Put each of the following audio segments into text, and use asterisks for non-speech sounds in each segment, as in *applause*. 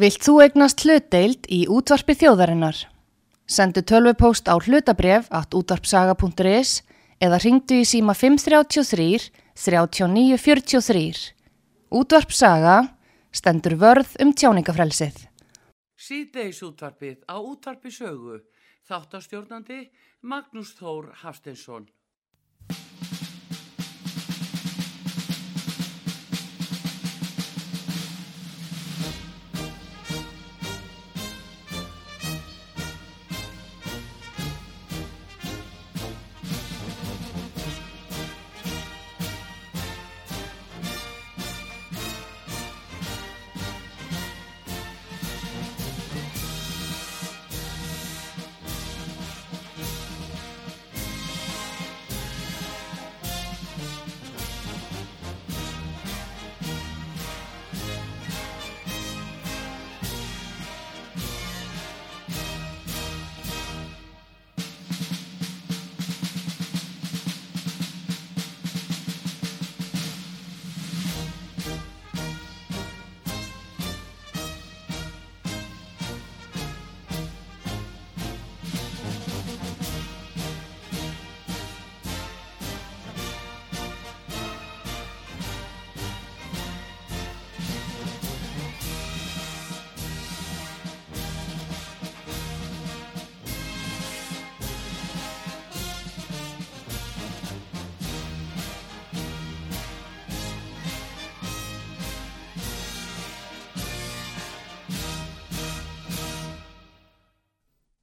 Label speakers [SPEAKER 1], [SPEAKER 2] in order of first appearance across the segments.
[SPEAKER 1] Vilt þú egnast hlutdeild í útvarpi þjóðarinnar? Sendu tölvupóst á hlutabref at útvarpsaga.is eða ringdu í síma 533 3943. Útvarpsaga stendur vörð um tjáningafrelsið.
[SPEAKER 2] Síðdeis útvarpið á útvarpi sögu. Þáttastjórnandi Magnús Þór Hafsteinsson.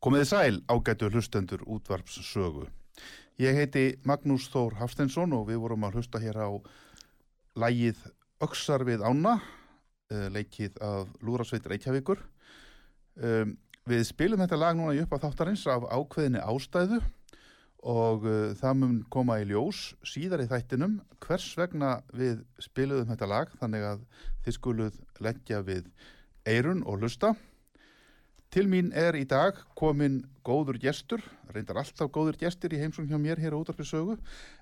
[SPEAKER 3] Komiði sæl ágætu hlustendur útvarps sögu. Ég heiti Magnús Þór Hafsteinsson og við vorum að hlusta hér á lægið Öksar við Ána, eh, leikið af Lúrasveit Reykjavíkur. Um, Við spilum þetta lag núna í upp á þáttarins af ákveðinni ástæðu og eh, það mun koma í ljós síðar í þættinum hvers vegna við spiluðum þetta lag þannig að þið skuluð leggja við eirun og hlusta. Til mín er í dag komin góður gestur, reyndar alltaf góður gestir í heimsum hjá mér hér á útarpið sögu,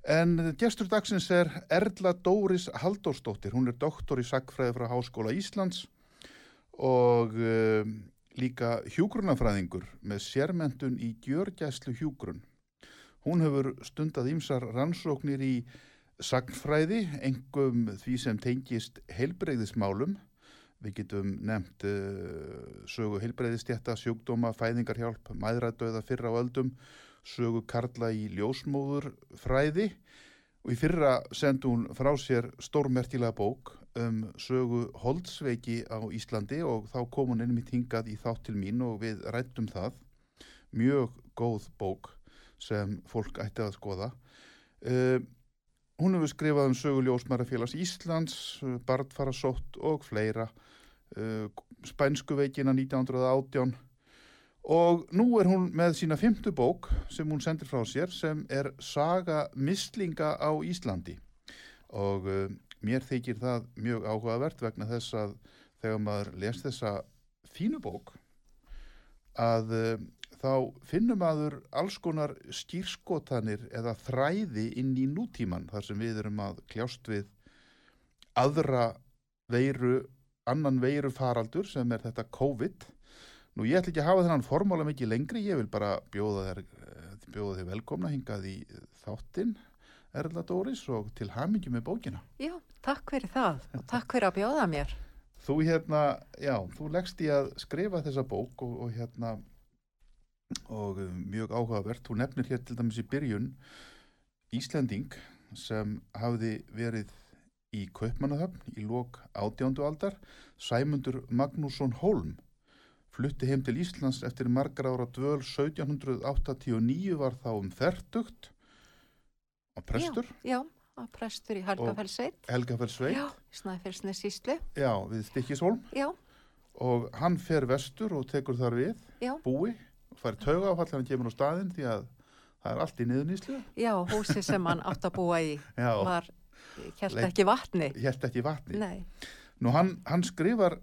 [SPEAKER 3] en gestur dagsins er Erla Dóris Halldórsdóttir, hún er doktor í sagfræði frá Háskóla Íslands og um, líka hjúgrunafræðingur með sérmentun í gjörgæslu hjúgrun. Hún hefur stundað ýmsar rannsóknir í sagfræði, engum því sem tengist heilbreyðismálum, Við getum nefnt uh, sögu heilbreyðistjætta, sjúkdóma, fæðingarhjálp, mæðradauða fyrra á öldum, sögu karla í ljósmóður fræði og í fyrra sendi hún frá sér stórmertilega bók um sögu holdsveiki á Íslandi og þá kom hún einmitt hingað í þátt til mín og við rættum það. Mjög góð bók sem fólk ætti að skoða. Uh, Hún hefur skrifað um sögu ljósmærafélags Íslands, Bartfarasótt og fleira, eh, Spænsku veikina 1918 og nú er hún með sína fymtu bók sem hún sendir frá sér sem er Saga mislinga á Íslandi og eh, mér þykir það mjög áhugavert vegna þess að þegar maður les þessa fínu bók að eh, þá finnum aður alls konar skýrskotanir eða þræði inn í nútíman þar sem við erum að kljást við aðra veiru, annan veiru faraldur sem er þetta COVID. Nú ég ætla ekki að hafa þennan formála mikið lengri, ég vil bara bjóða þér, eh, bjóða þér velkomna hingað í þáttinn Erla Dóris og til hamingi með bókina.
[SPEAKER 4] Já, takk fyrir það og takk fyrir að bjóða mér.
[SPEAKER 3] Þú hérna, já, þú leggst í að skrifa þessa bók og, og hérna og um, mjög áhugavert, þú nefnir hér til dæmis í byrjun Íslending sem hafði verið í Kaupmannahöfn í lok átjándu aldar, Sæmundur Magnússon Holm flutti heim til Íslands eftir margar ára dvöl 1789 var þá um þertugt og prestur,
[SPEAKER 4] Já, já, að prestur í Helgafellsveit.
[SPEAKER 3] Helgafeldsveit,
[SPEAKER 4] Já, Snæfellsnes Íslu.
[SPEAKER 3] já, við Stikkishólm
[SPEAKER 4] Já,
[SPEAKER 3] og hann fer vestur og tekur þar við
[SPEAKER 4] já,
[SPEAKER 3] búi og fær tauga áfall þegar hann kemur á staðinn því að það er allt í niðurníslu
[SPEAKER 4] já, húsi sem hann átt að búa í
[SPEAKER 3] *laughs* já,
[SPEAKER 4] var, held
[SPEAKER 3] Leit-
[SPEAKER 4] ekki vatni.
[SPEAKER 3] hélt ekki í vatni
[SPEAKER 4] Nei,
[SPEAKER 3] nú hann, hann skrifar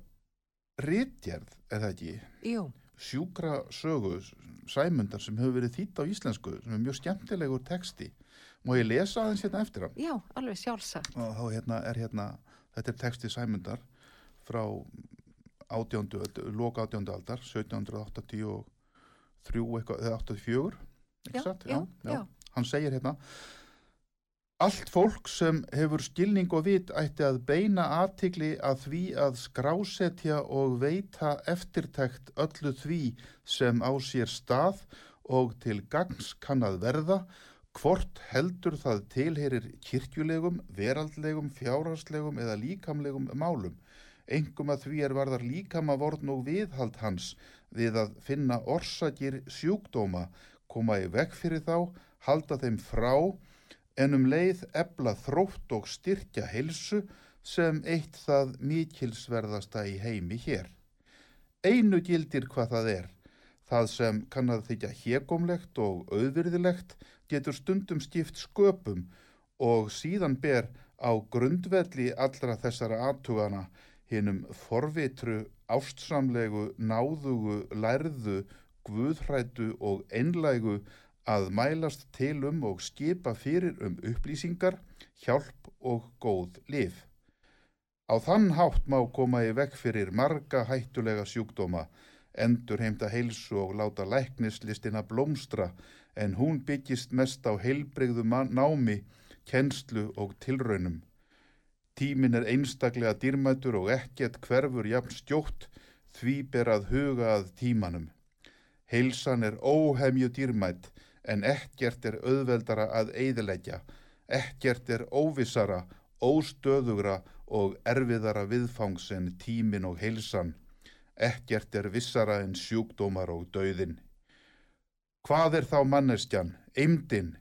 [SPEAKER 3] rítjerð, er það ekki
[SPEAKER 4] jú,
[SPEAKER 3] sjúkra sögu sæmundar sem hefur verið þýtt á íslensku sem er mjög skemmtilegur texti má ég lesa aðeins hérna eftir hann
[SPEAKER 4] já, alveg sjálfsagt.
[SPEAKER 3] og þá hérna er hérna þetta er texti sæmundar frá átjöndu, loka átjöndu aldar 1783 eitthvað, eða 84 ekki
[SPEAKER 4] Já,
[SPEAKER 3] satt?
[SPEAKER 4] já, já.
[SPEAKER 3] hann segir hérna Allt fólk sem hefur skilning og vit ætti að beina aðtikli að því að skrásetja og veita eftirtækt öllu því sem á sér stað og til gangs kann að verða, hvort heldur það tilherir kirkjulegum, veraldlegum, fjárhagslegum eða líkamlegum málum. Engum að því er varðar líkamavorn og viðhald hans við að finna orsakir sjúkdóma, koma í veg fyrir þá, halda þeim frá, en um leið ebla þrótt og styrkja heilsu sem eitt það mikilsverðasta í heimi hér. Einu gildir hvað það er. Það sem kann að þykja hégómlegt og auðvirðilegt getur stundum skipt sköpum og síðan ber á grundvelli allra þessara aðtugana hinnum forvitru, ástsamlegu, náðugu, lærðu, guðhrætu og einlægu að mælast til um og skipa fyrir um upplýsingar, hjálp og góð lif. Á þann hátt má koma í vekk fyrir marga hættulega sjúkdóma, endur heimta heilsu og láta læknislistina blómstra en hún byggist mest á heilbrigðu man- námi, kennslu og tilraunum. Tímin er einstaklega dýrmætur og ekkert hverfur jafn stjótt því ber að huga að tímanum. Heilsan er óhemju dýrmætt en ekkert er auðveldara að eyðileggja. Ekkert er óvissara, óstöðugra og erfiðara viðfangs en tímin og heilsan. Ekkert er vissara en sjúkdómar og dauðin. Hvað er þá manneskjan? Eimdin.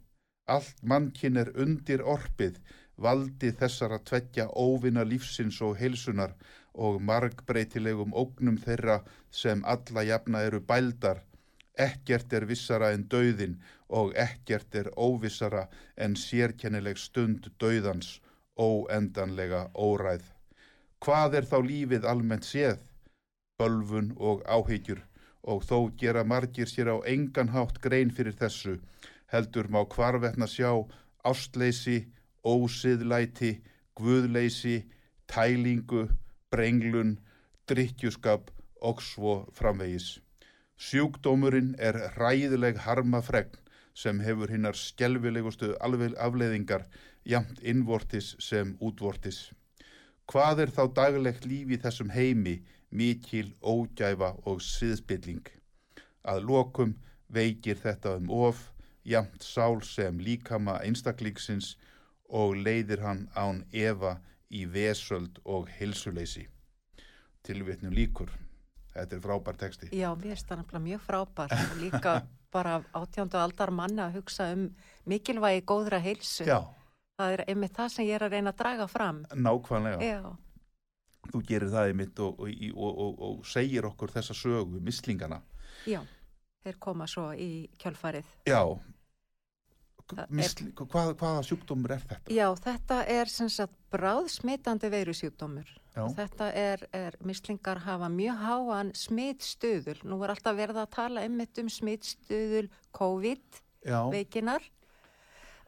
[SPEAKER 3] Allt mannkinn er undir orpið, valdi þessara tveggja óvinna lífsins og heilsunar og margbreytilegum ógnum þeirra sem alla jafna eru bældar. Ekkert er vissara en dauðin og ekkert er óvissara en sérkennileg stund dauðans, óendanlega óræð. Hvað er þá lífið almennt séð? Bölvun og áhyggjur og þó gera margir sér á engan hátt grein fyrir þessu, heldur má hvarvetna sjá ástleysi, ósiðlæti, guðleysi, tælingu, brenglun, drikkjuskap og svo framvegis. Sjúkdómurinn er ræðileg harmafregn sem hefur hinnar skelvilegustu alveg afleiðingar jamt innvortis sem útvortis. Hvað er þá daglegt líf í þessum heimi, mikil, ógæfa og siðspilling? Að lokum veikir þetta um of, jamt sál sem líkama einstaklingsins og leiðir hann án efa í vesöld og hilsuleysi. Tilvitnum líkur. Þetta er frábær texti.
[SPEAKER 4] Já, mér finnst það nefnilega mjög
[SPEAKER 3] *laughs*
[SPEAKER 4] frábært og líka bara af átjándu aldar manna að hugsa um mikilvægi góðra heilsu.
[SPEAKER 3] Já,
[SPEAKER 4] Það er einmitt það sem ég er að reyna að draga fram.
[SPEAKER 3] nákvæmlega.
[SPEAKER 4] Já,
[SPEAKER 3] Þú gerir það í mitt og, og, í- og, og, og segir okkur þessa sögu, mislingana.
[SPEAKER 4] já, þeir koma svo í kjölfarið.
[SPEAKER 3] Já,
[SPEAKER 4] Það er-
[SPEAKER 3] Misli, hvað, hvaða sjúkdómur er þetta?
[SPEAKER 4] Já, þetta er sem sagt bráðsmitandi veirusjúkdómur.
[SPEAKER 3] Já.
[SPEAKER 4] Og Þetta er, er, mislingar hafa mjög háan smitstuðul. Nú er alltaf verið að tala einmitt um smitstuðul COVID-veikinar.
[SPEAKER 3] Já,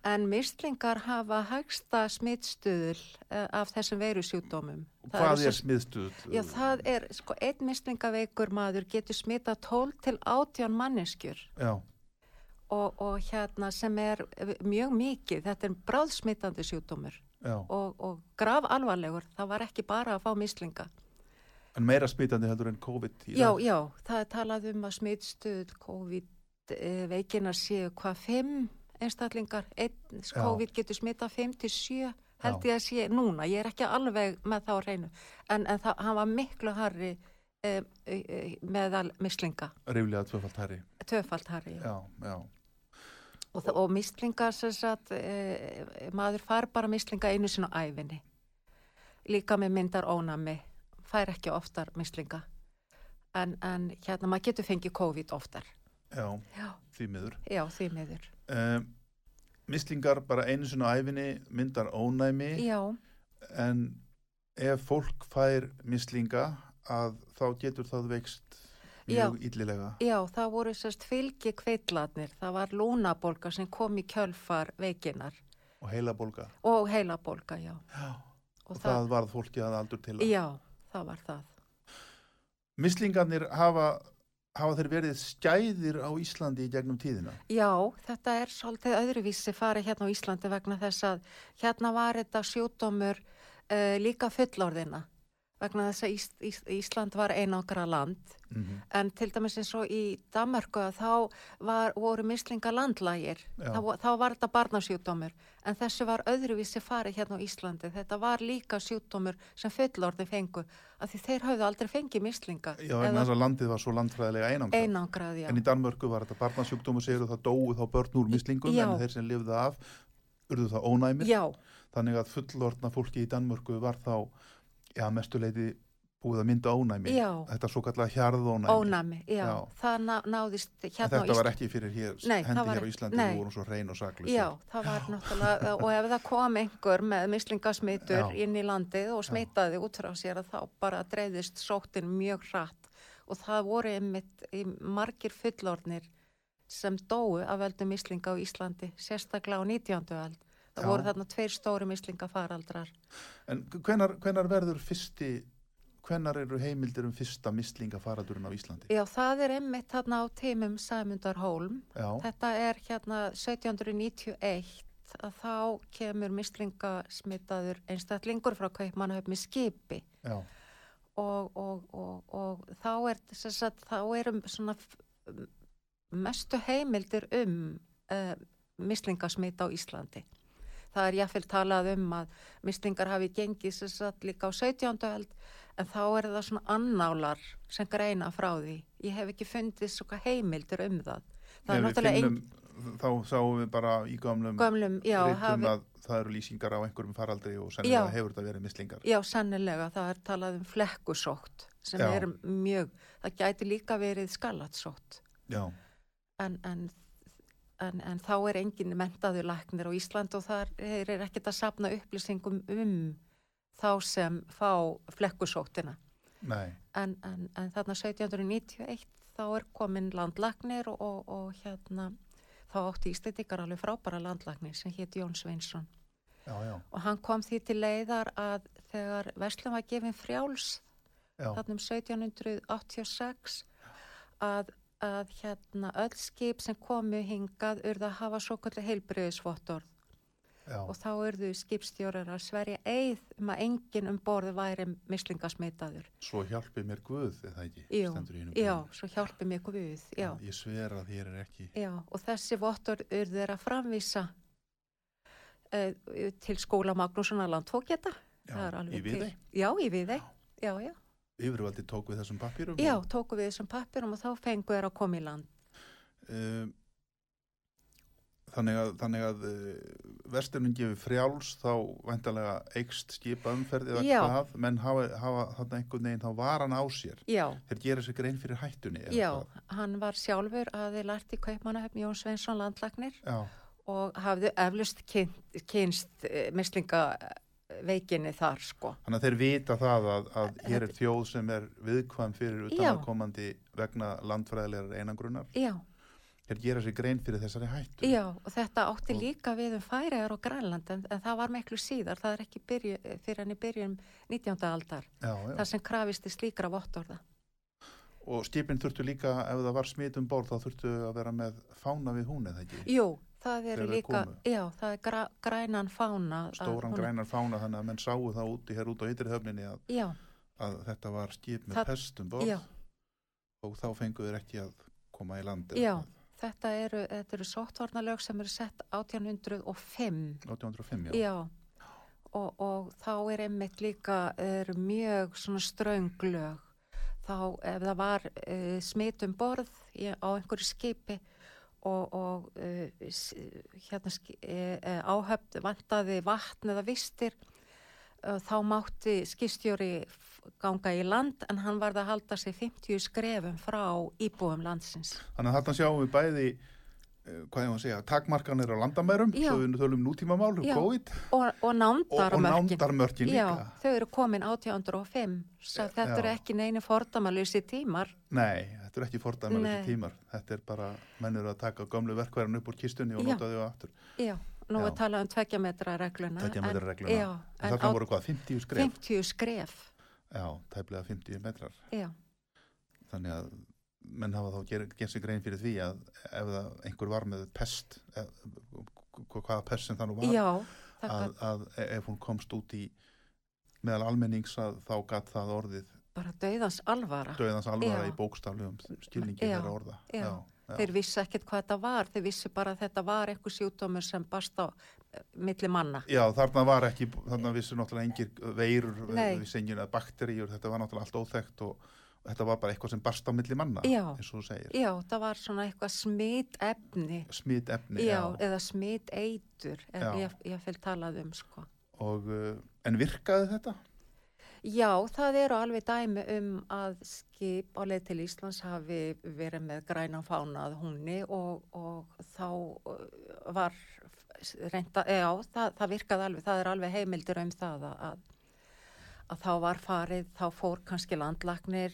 [SPEAKER 4] En mislingar hafa hægsta smitstuðul eh, af þessum veirusjúkdómum. Það eru
[SPEAKER 3] hvað
[SPEAKER 4] sem
[SPEAKER 3] er smiðstuð?
[SPEAKER 4] Já, það er, sko, einn mislingaveikur maður getur smita 12 til 18 manneskjur
[SPEAKER 3] Já,
[SPEAKER 4] og, og hérna sem er eh, mjög mikið, þetta er bráðsmitandi sjúkdómur
[SPEAKER 3] já.
[SPEAKER 4] og, og grav alvarlegur, það var ekki bara að fá mislinga.
[SPEAKER 3] En meira smitandi heldur en COVID í
[SPEAKER 4] Já,
[SPEAKER 3] dag.
[SPEAKER 4] já, það er talað um að smitstuð COVID-veikinar séu hvað 5 einstaklingar, einn
[SPEAKER 3] Já.
[SPEAKER 4] COVID getur smita 5 til 7 held ég að sé núna, ég er ekki alveg með þá reynu, en, en það, hann var miklu harri eh, eh, eh, meðal mislinga.
[SPEAKER 3] Ríflega tvöfalt herri.
[SPEAKER 4] Töfald harri.
[SPEAKER 3] Já, já,
[SPEAKER 4] Og, það- og mislingar sem sagt, e, maður far bara mislinga einu sinna á æfinni. Líka með myndar ónami, fær ekki oftar mislinga. En, en hérna, maður getur fengið COVID oftar.
[SPEAKER 3] já,
[SPEAKER 4] Já,
[SPEAKER 3] því miður.
[SPEAKER 4] já því miður.
[SPEAKER 3] Um, mislingar bara einu sinni á æfinni myndar ónæmi
[SPEAKER 4] Já,
[SPEAKER 3] en ef fólk fær mislinga að þá getur það veikst mjög illilega.
[SPEAKER 4] já, það voru sérst fylgi kveitladnir. Það var lúnabolga sem kom í kjölfar veikinar
[SPEAKER 3] og heilabólga
[SPEAKER 4] og heilabolga, já.
[SPEAKER 3] Já.
[SPEAKER 4] Og
[SPEAKER 3] og það, varð fólki að aldur til að-
[SPEAKER 4] já, það var það.
[SPEAKER 3] Mislingarnir hafa, hafa þeir verið skæðir á Íslandi í gegnum tíðina.
[SPEAKER 4] Já, þetta er svolítið öðruvísi farið hérna á Íslandi vegna þess að hérna var þetta sjúdómur uh, líka fullorðina vegna þess að Ís Ís Ísland var einangra land
[SPEAKER 3] Mm
[SPEAKER 4] en til dæmis eins og í Danmörku að þá var, voru mislingar landlægir
[SPEAKER 3] Já.
[SPEAKER 4] þá, vo- þá var þetta barnasjúdómur en þessu var öðruvísi farið hérna á Íslandi þetta var líka sjúdómur sem fullorðin fengu af því þeir höfðu aldrei fengið mislinga
[SPEAKER 3] Já, en þess að landið var svo landfræðilega einangrað.
[SPEAKER 4] einangrað já.
[SPEAKER 3] En í Danmörku var þetta barnasjúkdómu segir og það dóu þá börn úr mislingum
[SPEAKER 4] Já.
[SPEAKER 3] en þeir sem lifðu af urðu það ónæmir.
[SPEAKER 4] já,
[SPEAKER 3] Þannig að fullorðna fólki í Danmörku var þá ja, mestuleiti búið að mynda ónæmi.
[SPEAKER 4] Já.
[SPEAKER 3] Þetta svo kallega hjarðónæmi.
[SPEAKER 4] ónami já.
[SPEAKER 3] Já.
[SPEAKER 4] það ná, náðist
[SPEAKER 3] En
[SPEAKER 4] hérna á
[SPEAKER 3] þetta var
[SPEAKER 4] Íslandi
[SPEAKER 3] ekki fyrir hér,
[SPEAKER 4] Nei, það
[SPEAKER 3] hendi hér
[SPEAKER 4] var
[SPEAKER 3] á
[SPEAKER 4] ekki-
[SPEAKER 3] Íslandi,
[SPEAKER 4] nei.
[SPEAKER 3] við vorum svo hrein og saklis.
[SPEAKER 4] Já, það var náttúrulega, og ef það kom einhver með mislingasmitur
[SPEAKER 3] Já.
[SPEAKER 4] inn í landið og smitaði út frá sér að þá bara dreifðist sóttin mjög hratt og það voru einmitt í margir fullornir sem dóu af veldu mislinga á Íslandi, sérstaklega á 19. öld. Það
[SPEAKER 3] Já.
[SPEAKER 4] voru þarna tveir stóri mislingafaraldrar.
[SPEAKER 3] En hvenar, hvenar verður fyrsti, hvenar eru heimildir um fyrsta mislingafaradurinn á Íslandi?
[SPEAKER 4] Já, það er einmitt þarna á teimum Sæmundar Hólm.
[SPEAKER 3] Já,
[SPEAKER 4] Þetta er hérna 1791 að þá kemur mislingasmitaður einstaklingur frá kaupmannahöfn með skipi.
[SPEAKER 3] já,
[SPEAKER 4] og, og, og, og þá, er, sem sagt, þá erum svona f- m- mestu heimildir um uh, mislingasmita á Íslandi. Það er jáfnvel talað um að mislingar hafi gengið sem sagt, líka á 17. öld en þá er það svona annálar sem greina frá því. Ég hef ekki fundið svona heimildir um það.
[SPEAKER 3] Ef
[SPEAKER 4] Það er
[SPEAKER 3] við
[SPEAKER 4] náttúrulega
[SPEAKER 3] finnum,
[SPEAKER 4] engin
[SPEAKER 3] þá sáum við bara í gömlum,
[SPEAKER 4] gömlum, já,
[SPEAKER 3] ritum
[SPEAKER 4] hafi,
[SPEAKER 3] að það eru lýsingar á einhverjum faraldri og sennilega
[SPEAKER 4] Já.
[SPEAKER 3] hefur þetta verið mislingar.
[SPEAKER 4] Já, sennilega. Það er talað um flekkusótt sem
[SPEAKER 3] Já.
[SPEAKER 4] er mjög, það gæti líka verið skalatsótt.
[SPEAKER 3] Já,
[SPEAKER 4] en, en, en, en þá er engin mentaður læknir á Ísland og það er, er ekkert að sapna upplýsingum um þá sem fá flekkusóttina.
[SPEAKER 3] nei,
[SPEAKER 4] En, en, en þarna 1791 þá er komin landlæknir og, og, og hérna þá átti Íslendingar alveg frábæra landlæknir sem hétt Jón Sveinsson
[SPEAKER 3] já, já,
[SPEAKER 4] og hann kom því til leiðar að þegar Vestlum var gefin frjáls
[SPEAKER 3] já,
[SPEAKER 4] þarna um 1786 að, að hérna öll skip sem komu hingað urðu að hafa svo kallið heilbriðisvottorð
[SPEAKER 3] já,
[SPEAKER 4] og þá urðu skipstjórar að sverja eið um að enginn um borði væri mislingasmitaður.
[SPEAKER 3] svo hjálpi mér Guð, eða ekki,
[SPEAKER 4] Jú,
[SPEAKER 3] stendur í hinum
[SPEAKER 4] já,
[SPEAKER 3] bréfunum.
[SPEAKER 4] svo hjálpi mig Guð, já.
[SPEAKER 3] Ég sver að þér er ekki,
[SPEAKER 4] Já, og þessi vottorð urðu þeir að framvísa eh, til skóla Magnússonar landfókjeta.
[SPEAKER 3] já,
[SPEAKER 4] Það er alveg
[SPEAKER 3] í við
[SPEAKER 4] til. Já, í við þeir. Já, já.
[SPEAKER 3] Yfirvaldi tók við þessum papýrum.
[SPEAKER 4] Já, tóku við þessum pappirum og þá fengu þeir að koma í land.
[SPEAKER 3] Um, Þannig að, þannig að uh, verslunum gefur frjáls þá væntalega eikst skipaumferð eða
[SPEAKER 4] Já.
[SPEAKER 3] hvað, menn hafa, hafa þarna einhvern veginn þá varan á sér.
[SPEAKER 4] Já,
[SPEAKER 3] Þeir gera sér grein fyrir hættunni. eða
[SPEAKER 4] já,
[SPEAKER 3] hvað.
[SPEAKER 4] hann var sjálfur að þið lært í kaupmannahöfn Jón Sveinsson landlagnir
[SPEAKER 3] Já,
[SPEAKER 4] og hafði eflust kynst, kynst mislingaveikinni eh, þar sko.
[SPEAKER 3] Þannig að þeir vita það að, að hér er þjóð sem er viðkvæm fyrir
[SPEAKER 4] Já.
[SPEAKER 3] utanakomandi vegna landfræðilegar einangrunar.
[SPEAKER 4] Já,
[SPEAKER 3] Þeir gera sér grein fyrir þessari hættu.
[SPEAKER 4] já, og þetta átti
[SPEAKER 3] Og-
[SPEAKER 4] líka við um færiðar og Grænland en, en það var miklu síðar, það er ekki byrju, fyrir henni byrjun 19. aldar,
[SPEAKER 3] Já, já.
[SPEAKER 4] þar sem krafist í slíkra vottorða.
[SPEAKER 3] Og skipin þurftu líka, ef það var smit um borð, þá þurftu að vera með fána við hún eða ekki.
[SPEAKER 4] Jú, það
[SPEAKER 3] Þegar
[SPEAKER 4] eru
[SPEAKER 3] þeir
[SPEAKER 4] líka,
[SPEAKER 3] komu.
[SPEAKER 4] já, það er gra, grænan fána. að
[SPEAKER 3] Stóran
[SPEAKER 4] hún-
[SPEAKER 3] grænar fána þannig að menn sáu það úti hér út á ytri höfninni að,
[SPEAKER 4] Já,
[SPEAKER 3] að þetta var skip með
[SPEAKER 4] Það-
[SPEAKER 3] pest um borð
[SPEAKER 4] já.
[SPEAKER 3] og þá fengu þeir ekki að koma í landi.
[SPEAKER 4] Já, þetta eru, þetta eru sóttvarnalög sem eru sett 1805.
[SPEAKER 3] 1805,
[SPEAKER 4] Já. Og, og þá er einmitt líka er mjög svona strönglög. Þá ef það var uh, smit um borð í, á einhverju skipi og, og uh, s- hérna, uh, áhöfn vantaði vatn eða vistir uh, þá mátti skistjóri ganga í land en hann varð að halda sig 50 skrefum frá íbúum landsins.
[SPEAKER 3] Þannig að þarna sjáum við bæði eh, hvað ég maður að segja, takmarkanir á landamærum
[SPEAKER 4] Já.
[SPEAKER 3] svo við tölum nútímamál um
[SPEAKER 4] Já.
[SPEAKER 3] COVID
[SPEAKER 4] og, og
[SPEAKER 3] og, og
[SPEAKER 4] nándarmörkin
[SPEAKER 3] nándarmörkin líka
[SPEAKER 4] Já, þau eru komin 1805 svo þetta
[SPEAKER 3] já.
[SPEAKER 4] eru ekki neini fordamalösi tímar
[SPEAKER 3] Nei, þetta er ekki fordæmalegi
[SPEAKER 4] Nei.
[SPEAKER 3] tímar þetta er bara, menn eru að taka gömlu verkverðan upp úr kistunni og
[SPEAKER 4] Já.
[SPEAKER 3] nota þau aftur
[SPEAKER 4] Já, nú
[SPEAKER 3] Já.
[SPEAKER 4] er talað um tveggja metra regluna
[SPEAKER 3] þetta er metra regluna,
[SPEAKER 4] Já,
[SPEAKER 3] en
[SPEAKER 4] en
[SPEAKER 3] þarna
[SPEAKER 4] á
[SPEAKER 3] voru hvað, 50 skref
[SPEAKER 4] 50 skref
[SPEAKER 3] Já, tæplega 50 metrar
[SPEAKER 4] Já,
[SPEAKER 3] þannig að menn hafa þá gerð ger sig grein fyrir því að ef það einhver var með pest eh, hvaða pest sem þannig var
[SPEAKER 4] Já, það
[SPEAKER 3] að,
[SPEAKER 4] gat
[SPEAKER 3] að e, ef hún komst út í meðal almennings að þá gatt það orðið
[SPEAKER 4] bara dauðans alvara.
[SPEAKER 3] döðans alvara
[SPEAKER 4] Já.
[SPEAKER 3] í bókstaflegum skilningi
[SPEAKER 4] Já,
[SPEAKER 3] þeirra orða
[SPEAKER 4] já.
[SPEAKER 3] já.
[SPEAKER 4] Þeir vissi ekkert hvað þetta var, þeir vissi bara að þetta var eitthvað sjúkdómur sem bast á eh, milli manna.
[SPEAKER 3] já, þarna var ekki þarna vissi náttúrulega engir veirur
[SPEAKER 4] Nei.
[SPEAKER 3] við sengjum að bakteríur, þetta var náttúrulega allt óþekkt og, og þetta var bara eitthvað sem barst á milli manna
[SPEAKER 4] Já.
[SPEAKER 3] eins og þú segir,
[SPEAKER 4] Já, það var svona eitthvað smit efni,
[SPEAKER 3] smít
[SPEAKER 4] já,
[SPEAKER 3] efni já.
[SPEAKER 4] eða smit eitur,
[SPEAKER 3] Já.
[SPEAKER 4] ég, ég fylg talað um sko.
[SPEAKER 3] Og, uh, en virkaði þetta?
[SPEAKER 4] Já, það eru alveg dæmi um að skip á leið til Íslands hafi verið með græna fánað húnni og, og þá uh, var reynda, já, það, það virkaði alveg, það er alveg heimildir um það að- að, að þá var farið, þá fór kannski landlagnir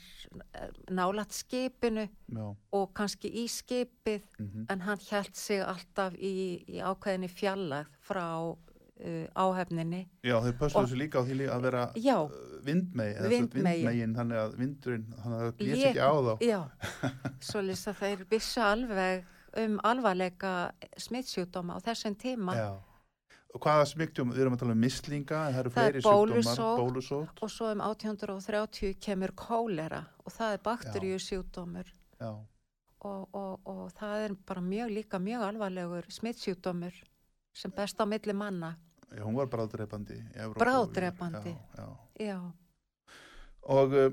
[SPEAKER 4] nálat skipinu
[SPEAKER 3] Já,
[SPEAKER 4] og kannski í skipið
[SPEAKER 3] mhm,
[SPEAKER 4] en hann held sig alltaf í, í ákveðinni fjallag frá uh, áhefninni
[SPEAKER 3] já þau
[SPEAKER 4] Og-
[SPEAKER 3] pösluðu sér líka á því líka að vera
[SPEAKER 4] Já.
[SPEAKER 3] uh, vindmegi, eða sem sagt
[SPEAKER 4] Vindmegi.
[SPEAKER 3] vindmegin þannig að vindurinn, þannig að það blés
[SPEAKER 4] Lék-
[SPEAKER 3] ekki á þá
[SPEAKER 4] Já, svo lýst að þeir vissu alveg um alvarleika smittsjúkdóma á þessum tíma
[SPEAKER 3] Já. Og hvaða smygtjum, við erum að tala um mislinga, en það eru
[SPEAKER 4] Það er
[SPEAKER 3] fleiri sjúkdómar,
[SPEAKER 4] bólusótt.
[SPEAKER 3] bólusótt,
[SPEAKER 4] og svo um 1830 kemur kólera og það er bakterjusjúkdómur
[SPEAKER 3] já,
[SPEAKER 4] og, og, og það er bara mjög líka mjög alvarlegur smittsjúkdómur sem best á milli manna.
[SPEAKER 3] já, hún var bráðdrepandi. í Evrópu.
[SPEAKER 4] Bráðdrepandi.
[SPEAKER 3] Já, já.
[SPEAKER 4] Já,
[SPEAKER 3] Og uh,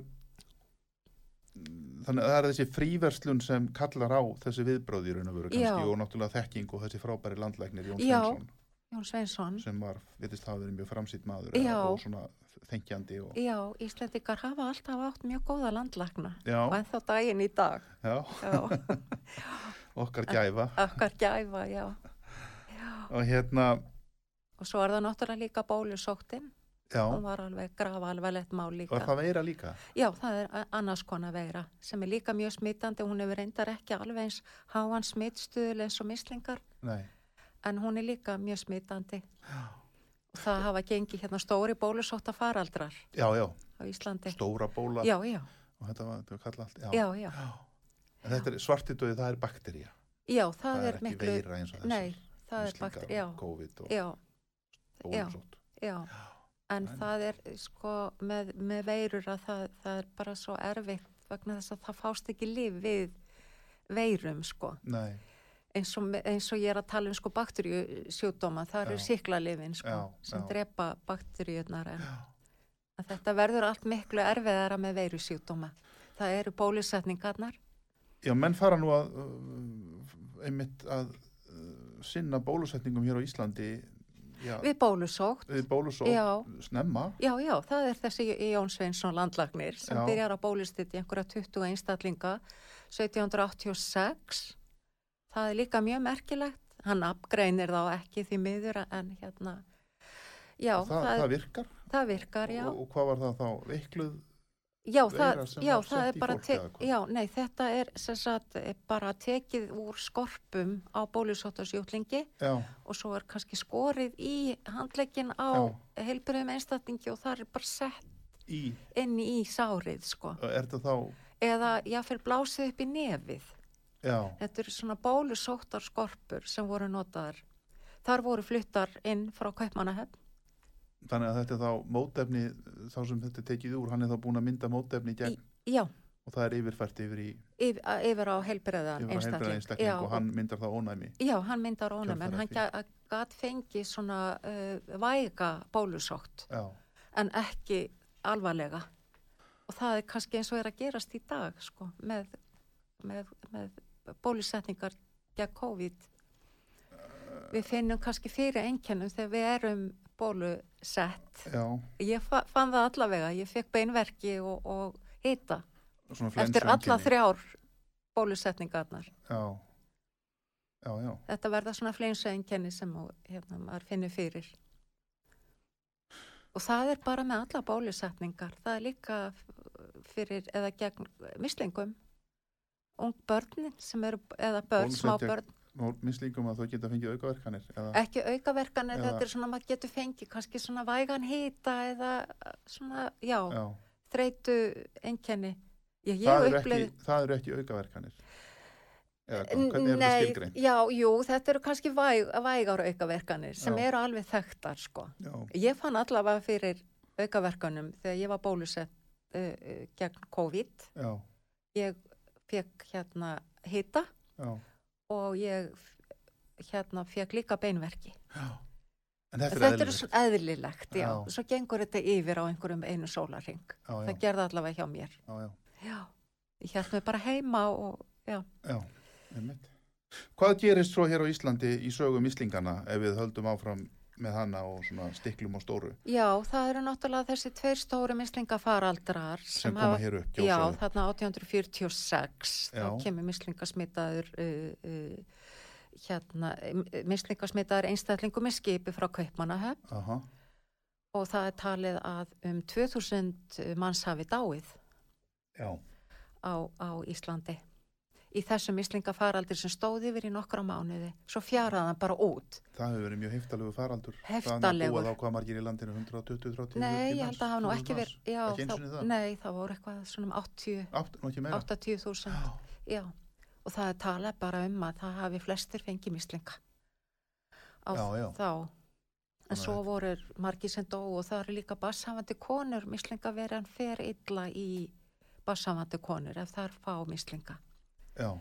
[SPEAKER 3] þannig að það er þessi fríverslun sem kallar á þessi viðbróð í raun og veru kannski
[SPEAKER 4] Já.
[SPEAKER 3] og náttúrulega þekking og þessi frábæri landlæknir Jón
[SPEAKER 4] Já.
[SPEAKER 3] Sveinsson
[SPEAKER 4] Jón Sveinsson.
[SPEAKER 3] sem var, vitist, hafa verið mjög framsýtt maður
[SPEAKER 4] Já.
[SPEAKER 3] og svona þengjandi og,
[SPEAKER 4] Já, Íslendingar hafa alltaf átt mjög góða landlagna og
[SPEAKER 3] já,
[SPEAKER 4] ennþá daginn í dag.
[SPEAKER 3] já,
[SPEAKER 4] Já,
[SPEAKER 3] okkar gæfa
[SPEAKER 4] okkar gæfa, já. Ah.
[SPEAKER 3] og hérna,
[SPEAKER 4] Og svo er það náttúrulega líka bólusóttin
[SPEAKER 3] já,
[SPEAKER 4] hún var alveg grafa alvarlegt mál líka.
[SPEAKER 3] var það veira líka?
[SPEAKER 4] Já, það er a- annars konar veira sem er líka mjög smittandi. Hún hefur reyndar ekki alveg eins háan smittstuðul eins og mislingar
[SPEAKER 3] Nei,
[SPEAKER 4] en hún er líka mjög smittandi. Og það hafa gengið hérna stóri bólusótta faraldrar
[SPEAKER 3] já, já,
[SPEAKER 4] á Íslandi.
[SPEAKER 3] stóra bóla
[SPEAKER 4] Já, já,
[SPEAKER 3] og þetta var, þetta var kallað allt, já,
[SPEAKER 4] já, já.
[SPEAKER 3] En þetta er svartidauði, það er baktería,
[SPEAKER 4] Já, það,
[SPEAKER 3] það, er
[SPEAKER 4] er
[SPEAKER 3] ekki
[SPEAKER 4] miklu...
[SPEAKER 3] veira eins og þessar
[SPEAKER 4] Nei, það er
[SPEAKER 3] mislingar
[SPEAKER 4] bakt...
[SPEAKER 3] og
[SPEAKER 4] Já,
[SPEAKER 3] COVID og
[SPEAKER 4] já,
[SPEAKER 3] bólusótt.
[SPEAKER 4] já. En
[SPEAKER 3] það er
[SPEAKER 4] það er sko með, með veirur að það, það er bara svo erfitt vegna þess að það fást ekki líf við veirum sko.
[SPEAKER 3] Nei,
[SPEAKER 4] eins og, eins og ég er að tala um sko bakterjusjúdóma, það eru
[SPEAKER 3] Já.
[SPEAKER 4] síklarlifin sko,
[SPEAKER 3] Já,
[SPEAKER 4] sem
[SPEAKER 3] já.
[SPEAKER 4] drepa bakterjurnar en en þetta verður allt miklu erfiðara með veirusjúdóma. Það eru bólusetningarnar,
[SPEAKER 3] já, menn fara nú að uh, einmitt að uh, sinna bólusetningum hér á Íslandi já, við,
[SPEAKER 4] við bólusótt,
[SPEAKER 3] bólusótt
[SPEAKER 4] Já.
[SPEAKER 3] snemma
[SPEAKER 4] já, já, það er þessi Jón Sveinsson landlagnir sem
[SPEAKER 3] Já.
[SPEAKER 4] byrjar að bólusetja í einhverja 20 einstaklinga 1786. Það er líka mjög merkilegt, hann apgreinir þá ekki því miður en hérna, já,
[SPEAKER 3] það, það,
[SPEAKER 4] það, það,
[SPEAKER 3] virkar
[SPEAKER 4] virkar, já.
[SPEAKER 3] og, og hvað var það þá veikluð
[SPEAKER 4] Já,
[SPEAKER 3] veira
[SPEAKER 4] það,
[SPEAKER 3] sem
[SPEAKER 4] já,
[SPEAKER 3] var
[SPEAKER 4] það
[SPEAKER 3] sett
[SPEAKER 4] er
[SPEAKER 3] í
[SPEAKER 4] bara
[SPEAKER 3] fólk
[SPEAKER 4] te-
[SPEAKER 3] eða hvað?
[SPEAKER 4] já, nei, þetta er sem sagt, eh, bara tekið úr skorpum á bólusóttarsjúklingi
[SPEAKER 3] já,
[SPEAKER 4] og svo er kannski skorið í handlegin á heilbröðum einstatningi og það er bara sett
[SPEAKER 3] í,
[SPEAKER 4] inn í sárið sko.
[SPEAKER 3] er þetta þá
[SPEAKER 4] eða jáfnir blásið upp í nefið
[SPEAKER 3] já,
[SPEAKER 4] þetta eru svona bólusóttarskorpur sem voru notaðar þar voru fluttar inn frá kaupmannahöfn
[SPEAKER 3] þannig að þetta er þá mótefni þá sem þetta er tekið úr, hann er þá búin að mynda mótefni í gegn
[SPEAKER 4] já,
[SPEAKER 3] og það er yfirfært yfir í
[SPEAKER 4] yfir, yfir á heilbröðan
[SPEAKER 3] yfir heilbreyðan einstakling og hann myndar þá ónæmi
[SPEAKER 4] Já, hann myndar ónum en
[SPEAKER 3] Kjölfarið
[SPEAKER 4] hann
[SPEAKER 3] því.
[SPEAKER 4] gæt fengið svona uh, væga bólusótt
[SPEAKER 3] já,
[SPEAKER 4] en ekki alvarlega og það er kannski eins og er að gerast í dag sko, með, með, með bólusetningar gegn COVID. Við finnum kannski fyrir einkennum þegar við erum bólusett.
[SPEAKER 3] já,
[SPEAKER 4] Ég fa fann það allavega, ég fekk beinverki og, og hita
[SPEAKER 3] svona
[SPEAKER 4] eftir alla
[SPEAKER 3] flensueinkenni.
[SPEAKER 4] þrjár bólusetningarnar.
[SPEAKER 3] já, já, já
[SPEAKER 4] þetta verða svona fleinsuenkenni sem þú, hérna, maður finnir fyrir og það er bara með alla bólusetningar það er líka f- fyrir eða gegn mislingum ung börn sem eru eða börn, smá
[SPEAKER 3] Bólusetja-
[SPEAKER 4] börn,
[SPEAKER 3] og mislingum að þau geta fengið aukaverkanir eða,
[SPEAKER 4] ekki aukaverkanir
[SPEAKER 3] Eða-
[SPEAKER 4] þetta er svona, maður getur fengið kannski svona vægan hýta eða svona, já,
[SPEAKER 3] já,
[SPEAKER 4] þreytu enkenni Ég, ég
[SPEAKER 3] það, eru
[SPEAKER 4] upplifði-
[SPEAKER 3] ekki, það eru ekki aukaverkanir. Eða hvað, hvernig er þetta
[SPEAKER 4] Nei,
[SPEAKER 3] skilgreint?
[SPEAKER 4] Já, jú, þetta eru kannski væg, vægar aukaverkanir sem
[SPEAKER 3] Já.
[SPEAKER 4] eru alveg þekktar sko.
[SPEAKER 3] Já,
[SPEAKER 4] Ég fann allavega fyrir aukaverkanum þegar ég var bólusett uh, uh, gegn COVID.
[SPEAKER 3] já,
[SPEAKER 4] Ég fekk hérna hita
[SPEAKER 3] já.
[SPEAKER 4] og ég f- hérna fekk líka beinverki.
[SPEAKER 3] En þetta er
[SPEAKER 4] Þetta er
[SPEAKER 3] eðlilegt.
[SPEAKER 4] svona eðlilegt, já.
[SPEAKER 3] Já.
[SPEAKER 4] Svo gengur þetta yfir á einhverjum einu sólarring.
[SPEAKER 3] Já, já,
[SPEAKER 4] Það gerði allavega hjá mér.
[SPEAKER 3] já, já,
[SPEAKER 4] Já, ég held mig bara heima og já.
[SPEAKER 3] já, einmitt. Hvað gerist svo hér á Íslandi í sögum Íslingana ef við höldum áfram með hana og svona stiklum og stóru
[SPEAKER 4] Já, það eru náttúrulega þessi tveir stóru mislingafaraldrar
[SPEAKER 3] sem koma hér upp?
[SPEAKER 4] Já,
[SPEAKER 3] gjósaðu?
[SPEAKER 4] þarna 1846
[SPEAKER 3] Já.
[SPEAKER 4] þá kemur mislingasmitaður uh, uh, hérna, eh, mislingasmitaður einstaklingu með skipi frá Kaupmannahöfn
[SPEAKER 3] Aha,
[SPEAKER 4] og það er talið að um 2000 manns hafi dáið
[SPEAKER 3] já,
[SPEAKER 4] á, á Íslandi í þessum mislingafaraldir sem stóði yfir í nokkra mánuði svo fjaraðan bara út
[SPEAKER 3] það hefur verið mjög heftalegu faraldur.
[SPEAKER 4] Heftalegur.
[SPEAKER 3] Það er búið á hvað margir í landinu 120, 30,
[SPEAKER 4] Nei, ég held að hafa nú ekki verið já,
[SPEAKER 3] Ekki einu sinni það?
[SPEAKER 4] Nei, það voru eitthvað svona um 80
[SPEAKER 3] Átt, nú ekki meira.
[SPEAKER 4] 80.000
[SPEAKER 3] Já.
[SPEAKER 4] Já, og það er talað bara um að það hafi flestir fengið mislinga á
[SPEAKER 3] Já, já.
[SPEAKER 4] þá. En
[SPEAKER 3] Þannig að
[SPEAKER 4] svo
[SPEAKER 3] þetta-
[SPEAKER 4] voru margir sem dó og það eru líka bassafandi konur mislinga verið en fer illa í bassafandi konur ef þær fá mislinga.
[SPEAKER 3] Já,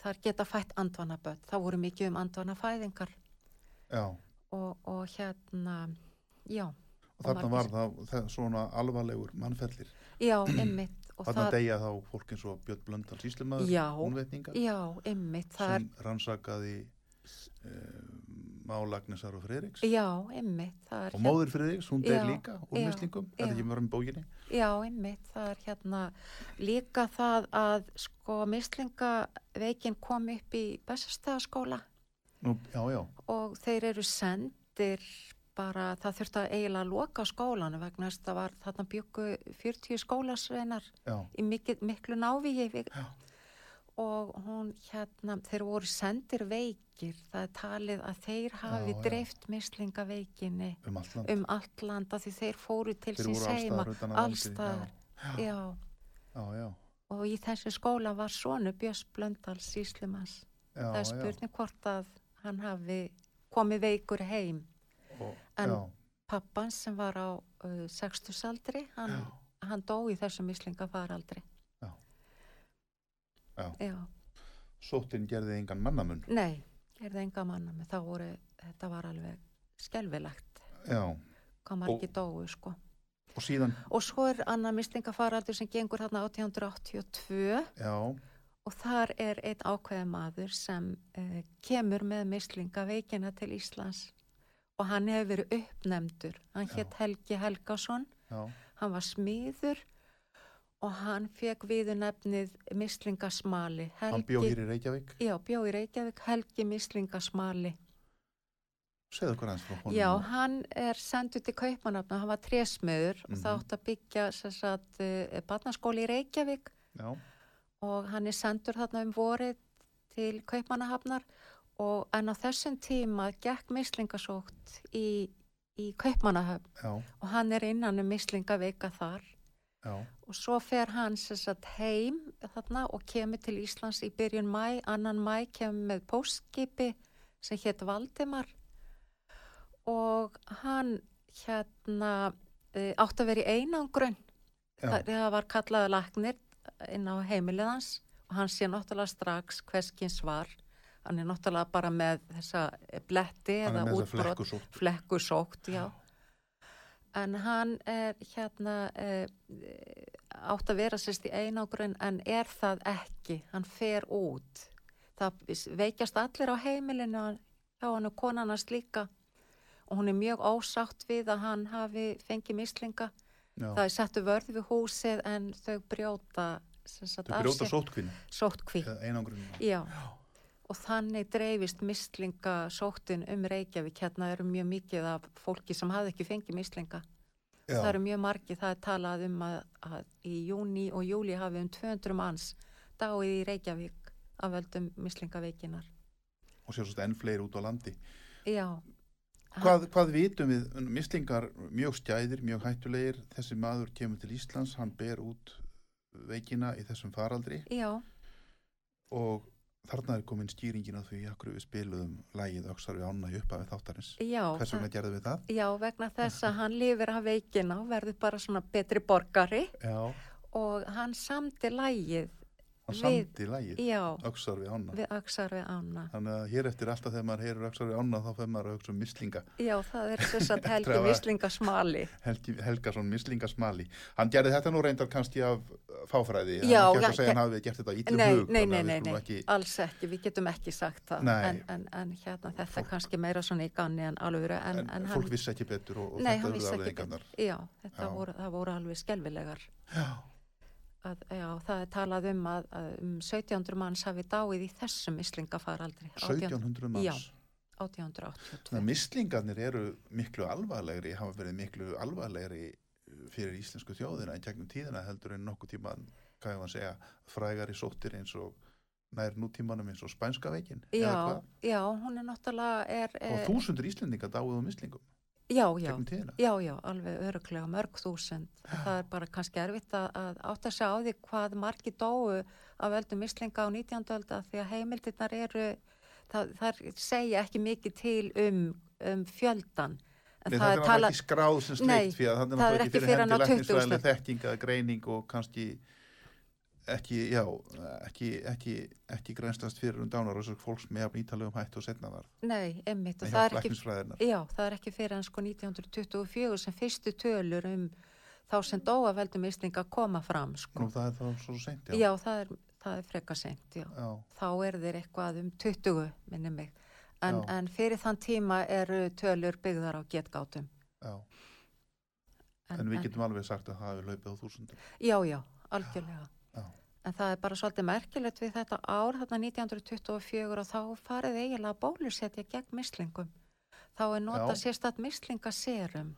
[SPEAKER 4] Þar geta fætt andvanaböld. Það voru mikið um andvanafæðingar
[SPEAKER 3] já.
[SPEAKER 4] og, og hérna, já,
[SPEAKER 3] Og þarna var
[SPEAKER 4] margir-
[SPEAKER 3] það, það svona alvarlegur mannferðlir.
[SPEAKER 4] já, ymmit. og
[SPEAKER 3] Þarna
[SPEAKER 4] það,
[SPEAKER 3] degja þá fólk eins og Björn Blöndal síslimaður,
[SPEAKER 4] Já.
[SPEAKER 3] húnvetninga,
[SPEAKER 4] já, ymmit, það er
[SPEAKER 3] sem rannsakaði uh, málagnisar og Friðriks.
[SPEAKER 4] Já, ymmit, það er
[SPEAKER 3] Og móðir Friðriks, hún
[SPEAKER 4] Já,
[SPEAKER 3] deyr líka úr
[SPEAKER 4] já,
[SPEAKER 3] mislingum, þetta
[SPEAKER 4] já.
[SPEAKER 3] ekki með varum í bókinni.
[SPEAKER 4] Já, einmitt, það er hérna líka það að sko mislingaveikin kom upp í Bessastæðaskóla
[SPEAKER 3] Nú, já, já,
[SPEAKER 4] og þeir eru sendir bara, það þurfti að eiginlega loka skólanu vegna þess að það var þarna byggu 40 skólasveinar
[SPEAKER 3] já,
[SPEAKER 4] í mikil, miklu návíi við-
[SPEAKER 3] Já.
[SPEAKER 4] og hún hérna, þeir voru sendir veikir, það er talið að þeir hafi
[SPEAKER 3] Já, já.
[SPEAKER 4] dreift mislingaveikinni
[SPEAKER 3] um allt land.
[SPEAKER 4] um allt land að því þeir fóru til
[SPEAKER 3] Þeir
[SPEAKER 4] síns
[SPEAKER 3] voru
[SPEAKER 4] heima,
[SPEAKER 3] allstaðar utan að
[SPEAKER 4] allstaðar,
[SPEAKER 3] Já, já,
[SPEAKER 4] já.
[SPEAKER 3] já, já.
[SPEAKER 4] og í þessu skóla var sonu Björns Blöndals Íslumans.
[SPEAKER 3] já,
[SPEAKER 4] Það er spurning hvort að hann hafi komið veikur heim.
[SPEAKER 3] Og,
[SPEAKER 4] en-
[SPEAKER 3] já,
[SPEAKER 4] Pappan sem var á uh, 60 aldri, hann,
[SPEAKER 3] já.
[SPEAKER 4] hann dó í þessum mislingafaraldri.
[SPEAKER 3] Já. Já.
[SPEAKER 4] Já.
[SPEAKER 3] Sóttin gerði engan mannamun.
[SPEAKER 4] Nei, gerði enga manna með það voru, þetta var alveg skelvilegt
[SPEAKER 3] Já,
[SPEAKER 4] hvað margir dóu sko.
[SPEAKER 3] og síðan,
[SPEAKER 4] Og svo er annar mislingafaraldur sem gengur þarna 1882
[SPEAKER 3] já,
[SPEAKER 4] Og þar er einn ákveðið maður sem uh, kemur með mislingaveikina til Íslands og hann hefur verið uppnefndur. Hann
[SPEAKER 3] Já.
[SPEAKER 4] hétt Helgi Helgason,
[SPEAKER 3] já,
[SPEAKER 4] hann var smiður og hann fekk viðu nefnið mislingasmali.
[SPEAKER 3] hann bjó hér í Reykjavík.
[SPEAKER 4] Já, bjó í Reykjavík, Helgi mislingasmali.
[SPEAKER 3] Segðu okkur aðeins frá honum.
[SPEAKER 4] Já, hann er sendur til kaupanöfna, hann var trésmiður og það
[SPEAKER 3] Mhm.
[SPEAKER 4] átt að byggja sem sagt, uh, barnaskóli í Reykjavík
[SPEAKER 3] Já,
[SPEAKER 4] og hann er sendur þarna um vorið til Kaupmannahafnar og en á þessum tíma gekk mislingasótt í, í Kaupmannahafn
[SPEAKER 3] já,
[SPEAKER 4] og hann er innan um mislingaveika þar
[SPEAKER 3] já,
[SPEAKER 4] og svo fer hann sem sagt heim þarna og kemur til Íslands í byrjun mæ, annan mæ kemur með póstskipi sem hétt Valdimar og hann hérna eh, átti að vera í einangrun
[SPEAKER 3] já,
[SPEAKER 4] það, það var kallaður lagnir inn á heimilið hans og hann sé náttúrulega strax hverskins var hann er náttúrulega bara með þessa bletti
[SPEAKER 3] hann er
[SPEAKER 4] eða
[SPEAKER 3] með þess að
[SPEAKER 4] útbrot
[SPEAKER 3] flekku sótt.
[SPEAKER 4] flekkusókt, já en hann er hérna eh, átt að vera sérst í einangrun en er það ekki, hann fer út það veikjast allir á heimilinu hann- hjá hann og konan hans líka og hún er mjög ósátt við að hann hafi fengið mislinga
[SPEAKER 3] Já,
[SPEAKER 4] Það er settu vörð við húsið en þau brjóta sem sagt,
[SPEAKER 3] þau brjóta sóttkvinni,
[SPEAKER 4] sótkví.
[SPEAKER 3] eða einangrunina.
[SPEAKER 4] Já. Og þannig dreifist mislinga sóttin um Reykjavík. Hérna eru mjög mikið af fólki sem hafði ekki fengið mislinga.
[SPEAKER 3] Já,
[SPEAKER 4] Það eru mjög margið. Það er talað um að, að í júni og júli hafi um 200 manns dáið í Reykjavík af völdum mislingaveikinar.
[SPEAKER 3] og sér svo enn fleiri út á landi.
[SPEAKER 4] Já.
[SPEAKER 3] Hvað, hvað vitum við? Mislingar mjög stjæðir, mjög hættulegir. Þessi maður kemur til Íslands, hann ber út veikina í þessum faraldri
[SPEAKER 4] já,
[SPEAKER 3] og þarna er komin skýringin að því akkur við spiluðum lægið öksar við ána í upphafi þáttarins.
[SPEAKER 4] já.
[SPEAKER 3] Hvers vegna gerðum við það?
[SPEAKER 4] Já, vegna þess
[SPEAKER 3] *laughs*
[SPEAKER 4] að hann lifir af veikina og verður bara svona betri borgari
[SPEAKER 3] Já,
[SPEAKER 4] og hann samti lægið,
[SPEAKER 3] hann
[SPEAKER 4] Við-
[SPEAKER 3] samdi lægið
[SPEAKER 4] já,
[SPEAKER 3] öksar við ána.
[SPEAKER 4] við öxar við ána.
[SPEAKER 3] Þannig að hér eftir alltaf þegar maður heyrur öksar við ána þá fer maður að hugsa um mislinga.
[SPEAKER 4] Já, það er þess
[SPEAKER 3] *laughs*
[SPEAKER 4] að helgi
[SPEAKER 3] að-
[SPEAKER 4] vislinga smali.
[SPEAKER 3] Helgi, Helgason mislingasmali hann gerði þetta nú reyndar kannski af fáfræði
[SPEAKER 4] Já,
[SPEAKER 3] hann er ekki hægt
[SPEAKER 4] já,
[SPEAKER 3] að segja
[SPEAKER 4] já.
[SPEAKER 3] hann hafi gert þetta á ítlum
[SPEAKER 4] Nei,
[SPEAKER 3] hug
[SPEAKER 4] nei,
[SPEAKER 3] þannig að
[SPEAKER 4] nei,
[SPEAKER 3] við
[SPEAKER 4] nei,
[SPEAKER 3] skulum
[SPEAKER 4] nei,
[SPEAKER 3] ekki,
[SPEAKER 4] alls ekki, við getum ekki sagt það.
[SPEAKER 3] Nei.
[SPEAKER 4] En, en, en hérna þetta er kannski meira svona í ganni en alvöru. En,
[SPEAKER 3] en,
[SPEAKER 4] en
[SPEAKER 3] fólk vissi ekki betur og, og
[SPEAKER 4] nei,
[SPEAKER 3] þetta
[SPEAKER 4] hann vissi ekki.
[SPEAKER 3] afleiðingarnar.
[SPEAKER 4] betur. Já, þetta
[SPEAKER 3] Já.
[SPEAKER 4] voru, það voru alveg skelvilegar.
[SPEAKER 3] já,
[SPEAKER 4] Að, já, það er talað um að, að um 1700 manns hafi dáið í þessum mislingafaraldri.
[SPEAKER 3] 1700
[SPEAKER 4] Já.
[SPEAKER 3] manns Þannig
[SPEAKER 4] 1882.
[SPEAKER 3] að mislingarnir eru miklu alvarlegri hafa verið miklu alvarlegri uh, fyrir íslensku þjóðina en gegnum tíðina heldur en nokkuð tíma hvað ég var að segja, frægari sóttir eins og nær nútímanum eins og spænska veikin eða
[SPEAKER 4] Já,
[SPEAKER 3] hvað?
[SPEAKER 4] já, hún er náttúrulega er,
[SPEAKER 3] og
[SPEAKER 4] eh,
[SPEAKER 3] þúsundur íslendinga dáið á mislingum
[SPEAKER 4] já, já,
[SPEAKER 3] gegnum tíðina
[SPEAKER 4] já, já, alveg öruglega mörg þúsund. Það er bara kannski erfitt að, að átta sig á því hvað margi dóu af völdum mislinga á 19. ölda því að heimildirnar eru, það, þar segja ekki mikið til um, um fjöldan. En
[SPEAKER 3] Nei, það er náttúrulega ekki skráð sem
[SPEAKER 4] Nei,
[SPEAKER 3] slikt því að það er
[SPEAKER 4] það er
[SPEAKER 3] náttúrulega
[SPEAKER 4] ekki
[SPEAKER 3] ekki
[SPEAKER 4] fyrr
[SPEAKER 3] fyrir
[SPEAKER 4] en á
[SPEAKER 3] hendi
[SPEAKER 4] 20.
[SPEAKER 3] læknisfræðileg þekking eða greining og kannski ekki, já, ekki, ekki, ekki grænstast fyrir um dánar og þessar fólks með að nýtalegum hættu og setna þar.
[SPEAKER 4] Nei, einmitt, og
[SPEAKER 3] En
[SPEAKER 4] það
[SPEAKER 3] hjá
[SPEAKER 4] er ekki
[SPEAKER 3] læknisfræðinar.
[SPEAKER 4] Já, það er ekki fyrir en sko 1924 sem fyrstu tölur um þá sem dóa veldum mislinga koma fram sko.
[SPEAKER 3] Nú það er þá svo seint,
[SPEAKER 4] já,
[SPEAKER 3] já.
[SPEAKER 4] það er, það er freka sent, já.
[SPEAKER 3] Já,
[SPEAKER 4] Þá er þeir eitthvað um 20, minni mig.
[SPEAKER 3] Já.
[SPEAKER 4] En, en fyrir þann tíma eru tölur byggðar á getgátum.
[SPEAKER 3] já. En við getum alveg sagt að það hefur hlaupið á þúsundum.
[SPEAKER 4] Já, já, algjörlega.
[SPEAKER 3] Já.
[SPEAKER 4] En það er bara svolítið merkilegt við þetta ár, þarna 1924 og þá farið eiginlega að bólusetja gegn mislingum. Þá er nota
[SPEAKER 3] Já.
[SPEAKER 4] sérstætt mislingaserum.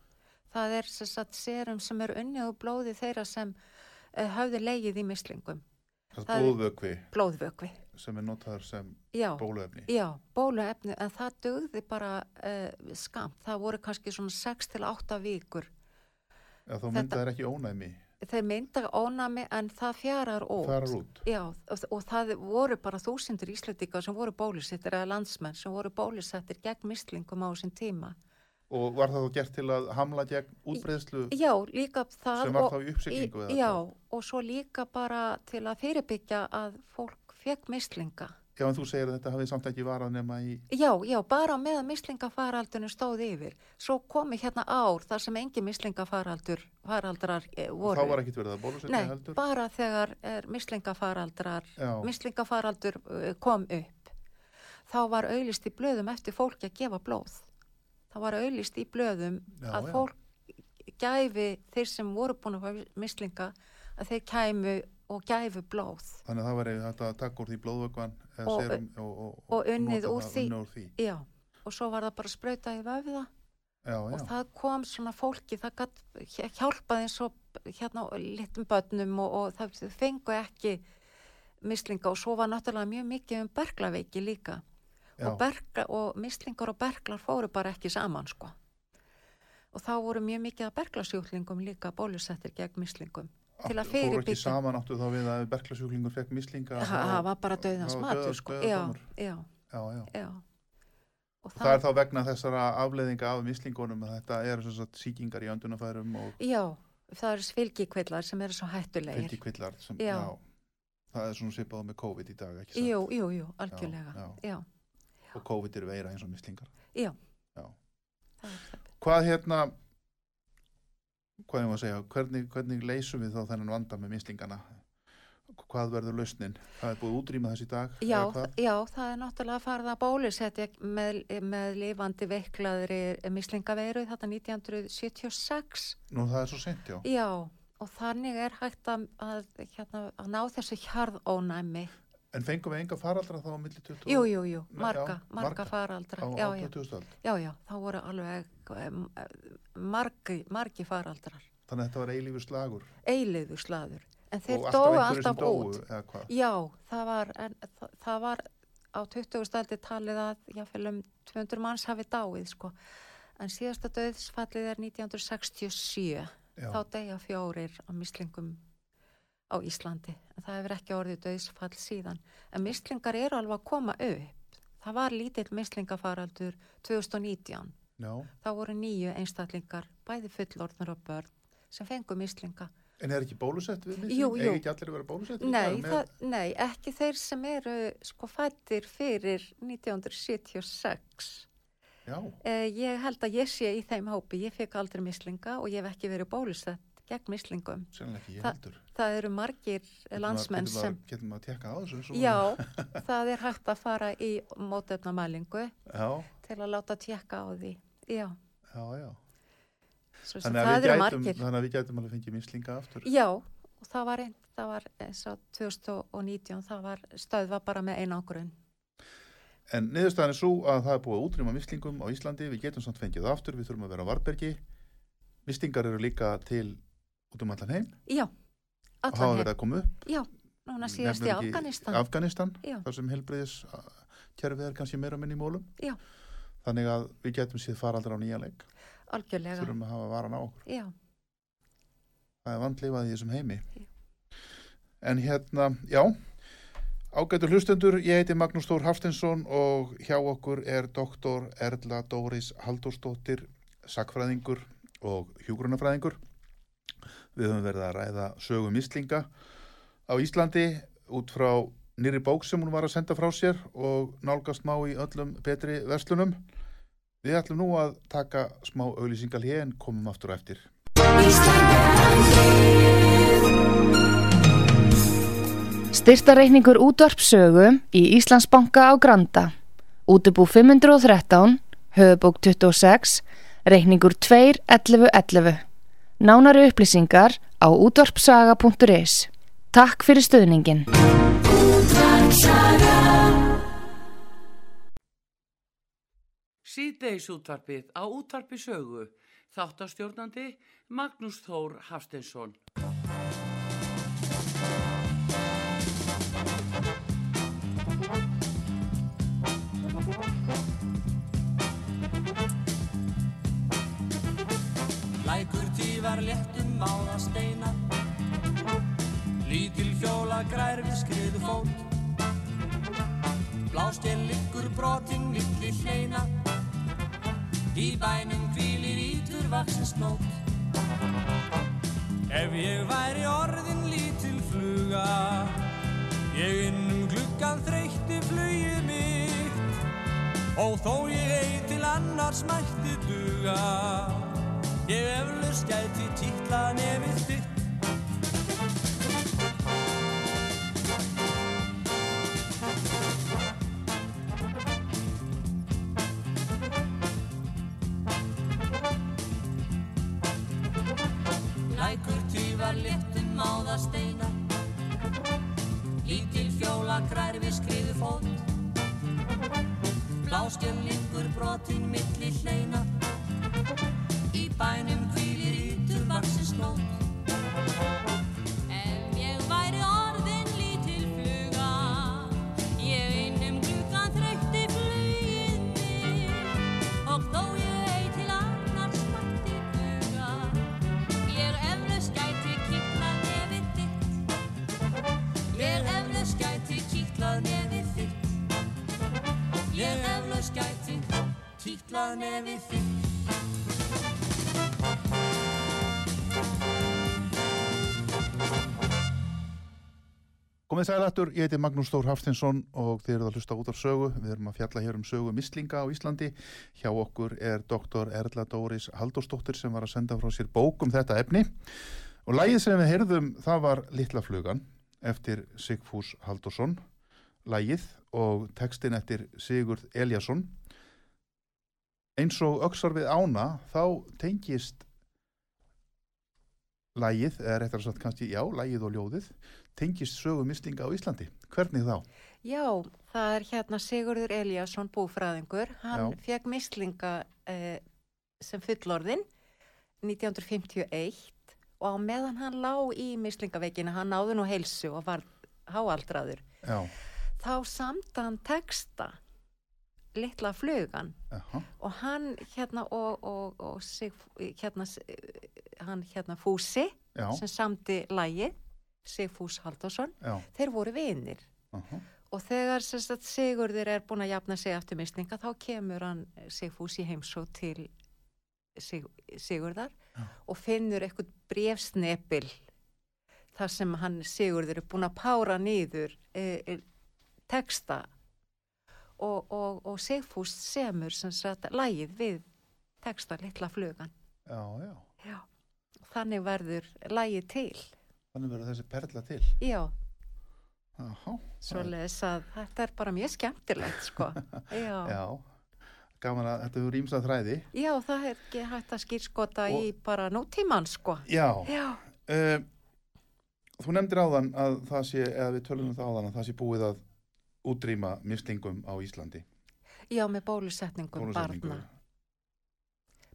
[SPEAKER 4] Það er sérstætt serum sem er unnið úr blóði þeirra sem uh, hafði leigið í mislingum.
[SPEAKER 3] Það
[SPEAKER 4] Það
[SPEAKER 3] er
[SPEAKER 4] er-
[SPEAKER 3] blóðvökvi
[SPEAKER 4] Blóðvökvi.
[SPEAKER 3] sem er notaður sem
[SPEAKER 4] Já,
[SPEAKER 3] bóluefni.
[SPEAKER 4] já, bóluefni, en það dugði bara uh, skamt. Það voru kannski svona 6 til 8 vikur.
[SPEAKER 3] Já, þá mynda það ekki ónæmi.
[SPEAKER 4] Þeir myndar ónami en það fjarar út.
[SPEAKER 3] Það er út.
[SPEAKER 4] Já, og, og það voru bara þúsindur íslendingar sem voru bólusettir eða landsmenn sem voru bólusettir gegn mislingum á þessum tíma.
[SPEAKER 3] Og var það þá gert til að hamla gegn útbreyðslu
[SPEAKER 4] Já, líka það
[SPEAKER 3] sem var
[SPEAKER 4] og,
[SPEAKER 3] þá í uppsiglingu? eða
[SPEAKER 4] Já,
[SPEAKER 3] hvað?
[SPEAKER 4] og svo líka bara til að fyrirbyggja að fólk fekk mislinga.
[SPEAKER 3] Já, en þú segir að þetta hafið samt ekki varað nema í
[SPEAKER 4] Já, já, bara meðan mislingafaraldunum stóð yfir. Svo komi hérna ár þar sem engin mislingafaraldur faraldrar eh,
[SPEAKER 3] og
[SPEAKER 4] voru.
[SPEAKER 3] þá var ekkit verið að bólusetja
[SPEAKER 4] Nei,
[SPEAKER 3] heldur
[SPEAKER 4] bara þegar er mislingafaraldrar,
[SPEAKER 3] Já.
[SPEAKER 4] mislingafaraldur uh, kom upp, þá var auðlist í blöðum eftir fólki að gefa blóð. Þá var auðlist í blöðum
[SPEAKER 3] Já,
[SPEAKER 4] að
[SPEAKER 3] já.
[SPEAKER 4] fólk gæfi þeir sem voru búin að fá mislinga að þeir kæmu og gæfu blóð.
[SPEAKER 3] þannig að það var þetta að taka úr því blóðvökvan eða
[SPEAKER 4] Og-
[SPEAKER 3] serum og, og,
[SPEAKER 4] og unnið
[SPEAKER 3] nota
[SPEAKER 4] úr
[SPEAKER 3] það-
[SPEAKER 4] því.
[SPEAKER 3] unnið úr því.
[SPEAKER 4] Já, og svo var það bara sprautað í vöfða
[SPEAKER 3] Já, já.
[SPEAKER 4] og það kom svona fólki, það gat hjálpað eins og hérna litum börnum og, og það þau fengu ekki mislinga og svo var náttúrulega mjög mikið um berglaveiki líka
[SPEAKER 3] já.
[SPEAKER 4] og, bergla, og mislingar og berglar fóru bara ekki saman sko og þá voru mjög mikið að berglasjúklingum líka bólusettir gegn mislingum til að
[SPEAKER 3] Áttu- fóru ekki
[SPEAKER 4] fyrirbyggja.
[SPEAKER 3] saman áttu þá við að berglasjúklingur fekk mislinga
[SPEAKER 4] Ha- það var bara döðans
[SPEAKER 3] það var
[SPEAKER 4] matur
[SPEAKER 3] dauðans-
[SPEAKER 4] sko já,
[SPEAKER 3] dauðadómur.
[SPEAKER 4] já,
[SPEAKER 3] já, já.
[SPEAKER 4] já og
[SPEAKER 3] Það er þá vegna þessara afleðinga af mislingunum að þetta eru sem sagt sýkingar í öndunafærum og
[SPEAKER 4] já, það eru svilgikvillar sem eru svo hættulegir
[SPEAKER 3] fylgikvillar sem,
[SPEAKER 4] Já.
[SPEAKER 3] það er svona svipað með COVID í dag ekki satt?
[SPEAKER 4] jú, jú, jú, algjörlega
[SPEAKER 3] já.
[SPEAKER 4] já,
[SPEAKER 3] og COVID er veira eins og mislingar
[SPEAKER 4] Já.
[SPEAKER 3] já.
[SPEAKER 4] það er það
[SPEAKER 3] hvað hérna hvað ég maður að segja, hvernig, hvernig leysum við þá þennan vanda með mislingana hvað verður lausnin það er búið að útrýma þess í dag
[SPEAKER 4] Já,
[SPEAKER 3] eða hvað?
[SPEAKER 4] þa- já, það er náttúrulega farið að bólusetja með, með lifandi veiklaðri mislingaveiru þetta 1976.
[SPEAKER 3] nú það er svo sent, já
[SPEAKER 4] Já, og þannig er hægt að, að, hérna, að ná þessu hjarðónæmi.
[SPEAKER 3] en fengum við enga faraldra þá á milli 20
[SPEAKER 4] Jú, jú, jú,
[SPEAKER 3] Nei,
[SPEAKER 4] marga,
[SPEAKER 3] já, marga.
[SPEAKER 4] marga faraldra.
[SPEAKER 3] á, á
[SPEAKER 4] já, já,
[SPEAKER 3] 2000 öld
[SPEAKER 4] já, já, þá voru alveg um, margi, margi faraldrar.
[SPEAKER 3] þannig að þetta var eilífur slagur
[SPEAKER 4] Eiliðu slaður. En þeir
[SPEAKER 3] og
[SPEAKER 4] dóu
[SPEAKER 3] einhverjir sem
[SPEAKER 4] alltaf út.
[SPEAKER 3] dóu, eða hvað?
[SPEAKER 4] Já, það var, en, það, það var á 20. stældi talið að jáfnvel um 200 manns hafi dáið sko. En síðasta döðsfallið er 1967.
[SPEAKER 3] Já.
[SPEAKER 4] Þá degja fjórir á mislingum á Íslandi. En Það hefur ekki orðið döðsfall síðan. En mislingar eru alveg að koma upp. Það var lítill mislingafaraldur 2019.
[SPEAKER 3] Já.
[SPEAKER 4] Þá voru nýju einstaklingar, bæði fullorðnar og börn, sem fengu mislinga.
[SPEAKER 3] En er ekki bólusett við mislinga?
[SPEAKER 4] Jú, jú.
[SPEAKER 3] Eða ekki allir að vera bólusett?
[SPEAKER 4] Nei, það, nei, ekki þeir sem eru sko fættir fyrir 1976.
[SPEAKER 3] Já,
[SPEAKER 4] Eh, ég held að ég sé í þeim hópi, ég fekk aldrei mislinga og ég hef ekki verið bólusett gegn mislingum.
[SPEAKER 3] sennilega ekki, ég
[SPEAKER 4] Það-
[SPEAKER 3] heldur.
[SPEAKER 4] Það eru margir eh, landsmenn
[SPEAKER 3] getum
[SPEAKER 4] sem...
[SPEAKER 3] að, getum að tekka á þessu svo- *laughs*
[SPEAKER 4] Já, það er hægt að fara í mótefnamælingu
[SPEAKER 3] já,
[SPEAKER 4] til að láta tjekka á því. Já,
[SPEAKER 3] já, já.
[SPEAKER 4] svo sem
[SPEAKER 3] þannig að,
[SPEAKER 4] það
[SPEAKER 3] við
[SPEAKER 4] eru
[SPEAKER 3] gætum,
[SPEAKER 4] margir.
[SPEAKER 3] þannig að við gætum alveg fengið mislinga aftur
[SPEAKER 4] Já, og það var, ein- það var eh, eins og 2019, það var stöðva bara með einangrun.
[SPEAKER 3] en niðurstaðan er svo að það er búið að útrýma mislingum á Íslandi, við getum samt fengið það aftur við þurfum að vera á varbergi mislingar eru líka til út um allan heim
[SPEAKER 4] Já,
[SPEAKER 3] og hafa
[SPEAKER 4] allan
[SPEAKER 3] verið
[SPEAKER 4] hef,
[SPEAKER 3] að koma upp
[SPEAKER 4] núna síðast
[SPEAKER 3] Mm,
[SPEAKER 4] í
[SPEAKER 3] nefnum ekki
[SPEAKER 4] Afganistan.
[SPEAKER 3] Afganistan,
[SPEAKER 4] Já.
[SPEAKER 3] þar sem helbriðis kerfið er kannski meira minni í mólum
[SPEAKER 4] Já.
[SPEAKER 3] þannig að við getum séð faraldra á nýja leik
[SPEAKER 4] Algjörlega,
[SPEAKER 3] þurfum að hafa varan á okkur
[SPEAKER 4] já,
[SPEAKER 3] það er vandlifað í þessum heimi
[SPEAKER 4] Já.
[SPEAKER 3] en hérna, já ágætu hlustendur, ég heiti Magnús Þór Hafstinsson og hjá okkur er doktor Erla Dóris Halldórsdóttir sakfræðingur og hjúgrunafræðingur við höfum verið að ræða sögum íslinga á Íslandi út frá nýri bók sem hún var að senda frá sér og nálgast má í öllum betri verslunum við ætlum nú að taka smá auglýsingal hér en komum aftur á eftir
[SPEAKER 1] Styrtareikningur útvarpsögu í Íslandsbanka á Granda. Útubú 513, höfubók 26, reikningur 2.11.11. Nánari upplýsingar á útvarpsaga.is. Takk fyrir stöðningin.
[SPEAKER 2] Síðdeis útvarpið á útvarpi sögu. Þáttastjórnandi Magnús Þór Hafstensson.
[SPEAKER 5] Lækur tífar léttum máða steina Lítil hjóla grær við skriðu fót Blástél liggur brotin milli hleina Í bænum hvílir ítur vaksins nót Ef ég væri orðin lítil fluga Ég innum gluggan þreytti flugið mitt Og þó ég eigi til annars mætti duga Ég eflaust gæti títlað nefið þitt Lækur tífar léttum máða steina Lítil fjóla grær við skriðu fót Blástjum liggur brotin milli hleina Í bænum hvílir ytur vaksins nót Ef ég væri orðin lítil fluga Ég innum gluggan þreytti flugið mig Og þó ég ei til annars mætti huga Ég eflaust gæti kýtlað nefið þitt Ég eflaust gæti kýtlað nefið þitt Ég eflaust gæti kýtlað nefið þitt
[SPEAKER 3] Komið sæl aftur, ég heiti Magnús Þór Hafstinsson og þið eruð að hlusta út af sögu. Við erum að fjalla hér um sögu mislinga á Íslandi. Hjá okkur er doktor Erla Dóris Halldórsdóttir sem var að senda frá sér bók um þetta efni. Og lægið sem við heyrðum, það var Littla flugan eftir Sigfús Halldórsson, lægið og textin eftir Sigurð Eliasson. Eins og öksar við ána, þá tengist lægið, eða réttar að sagt kannski, já, lægið og ljóðið, tengist sögu mislinga á Íslandi. Hvernig þá?
[SPEAKER 4] já, það er hérna Sigurður Eliasson búfræðingur, hann
[SPEAKER 3] Já.
[SPEAKER 4] fekk mislinga eh, sem fullorðin 1951 og á meðan hann lá í mislingaveikinu, hann náði nú heilsu og var háaldraður,
[SPEAKER 3] Já,
[SPEAKER 4] þá samt hann texta litla flugan
[SPEAKER 3] aha,
[SPEAKER 4] og hann hérna og, og, og sig, hérna, hann hérna Fúsi
[SPEAKER 3] já,
[SPEAKER 4] sem samdi lægi Sigfús Halldórsson,
[SPEAKER 3] já,
[SPEAKER 4] þeir voru vinir
[SPEAKER 3] aha,
[SPEAKER 4] og þegar sem sagt, Sigurður er búin að jafna sig eftir mislinga þá kemur hann eh, Sigfús í heimsó til Sig, Sigurðar og finnur eitthvað brefsnepil þar sem hann Sigurður er búin að pára nýður e, e, texta og, og, og Sigfús semur sem sagt lægið við texta litla flugan
[SPEAKER 3] já, já.
[SPEAKER 4] Já. þannig verður lægið til
[SPEAKER 3] Þannig verður þessi perla til.
[SPEAKER 4] já,
[SPEAKER 3] Aha,
[SPEAKER 4] svo leiðis að þetta er bara mjög skemmtilegt
[SPEAKER 3] *laughs*
[SPEAKER 4] sko já,
[SPEAKER 3] já. Gaman að þetta verður ímsa þræði.
[SPEAKER 4] Já, það er ekki hægt að skýrskota
[SPEAKER 3] Og-
[SPEAKER 4] í bara nútíman, sko.
[SPEAKER 3] Já.
[SPEAKER 4] Já,
[SPEAKER 3] Uh, þú nefndir áðan að það sé, eða við tölum um það áðan að það sé búið að útrýma mislingum á Íslandi.
[SPEAKER 4] já, með bólusetningum
[SPEAKER 3] Bólusetningu.
[SPEAKER 4] barna.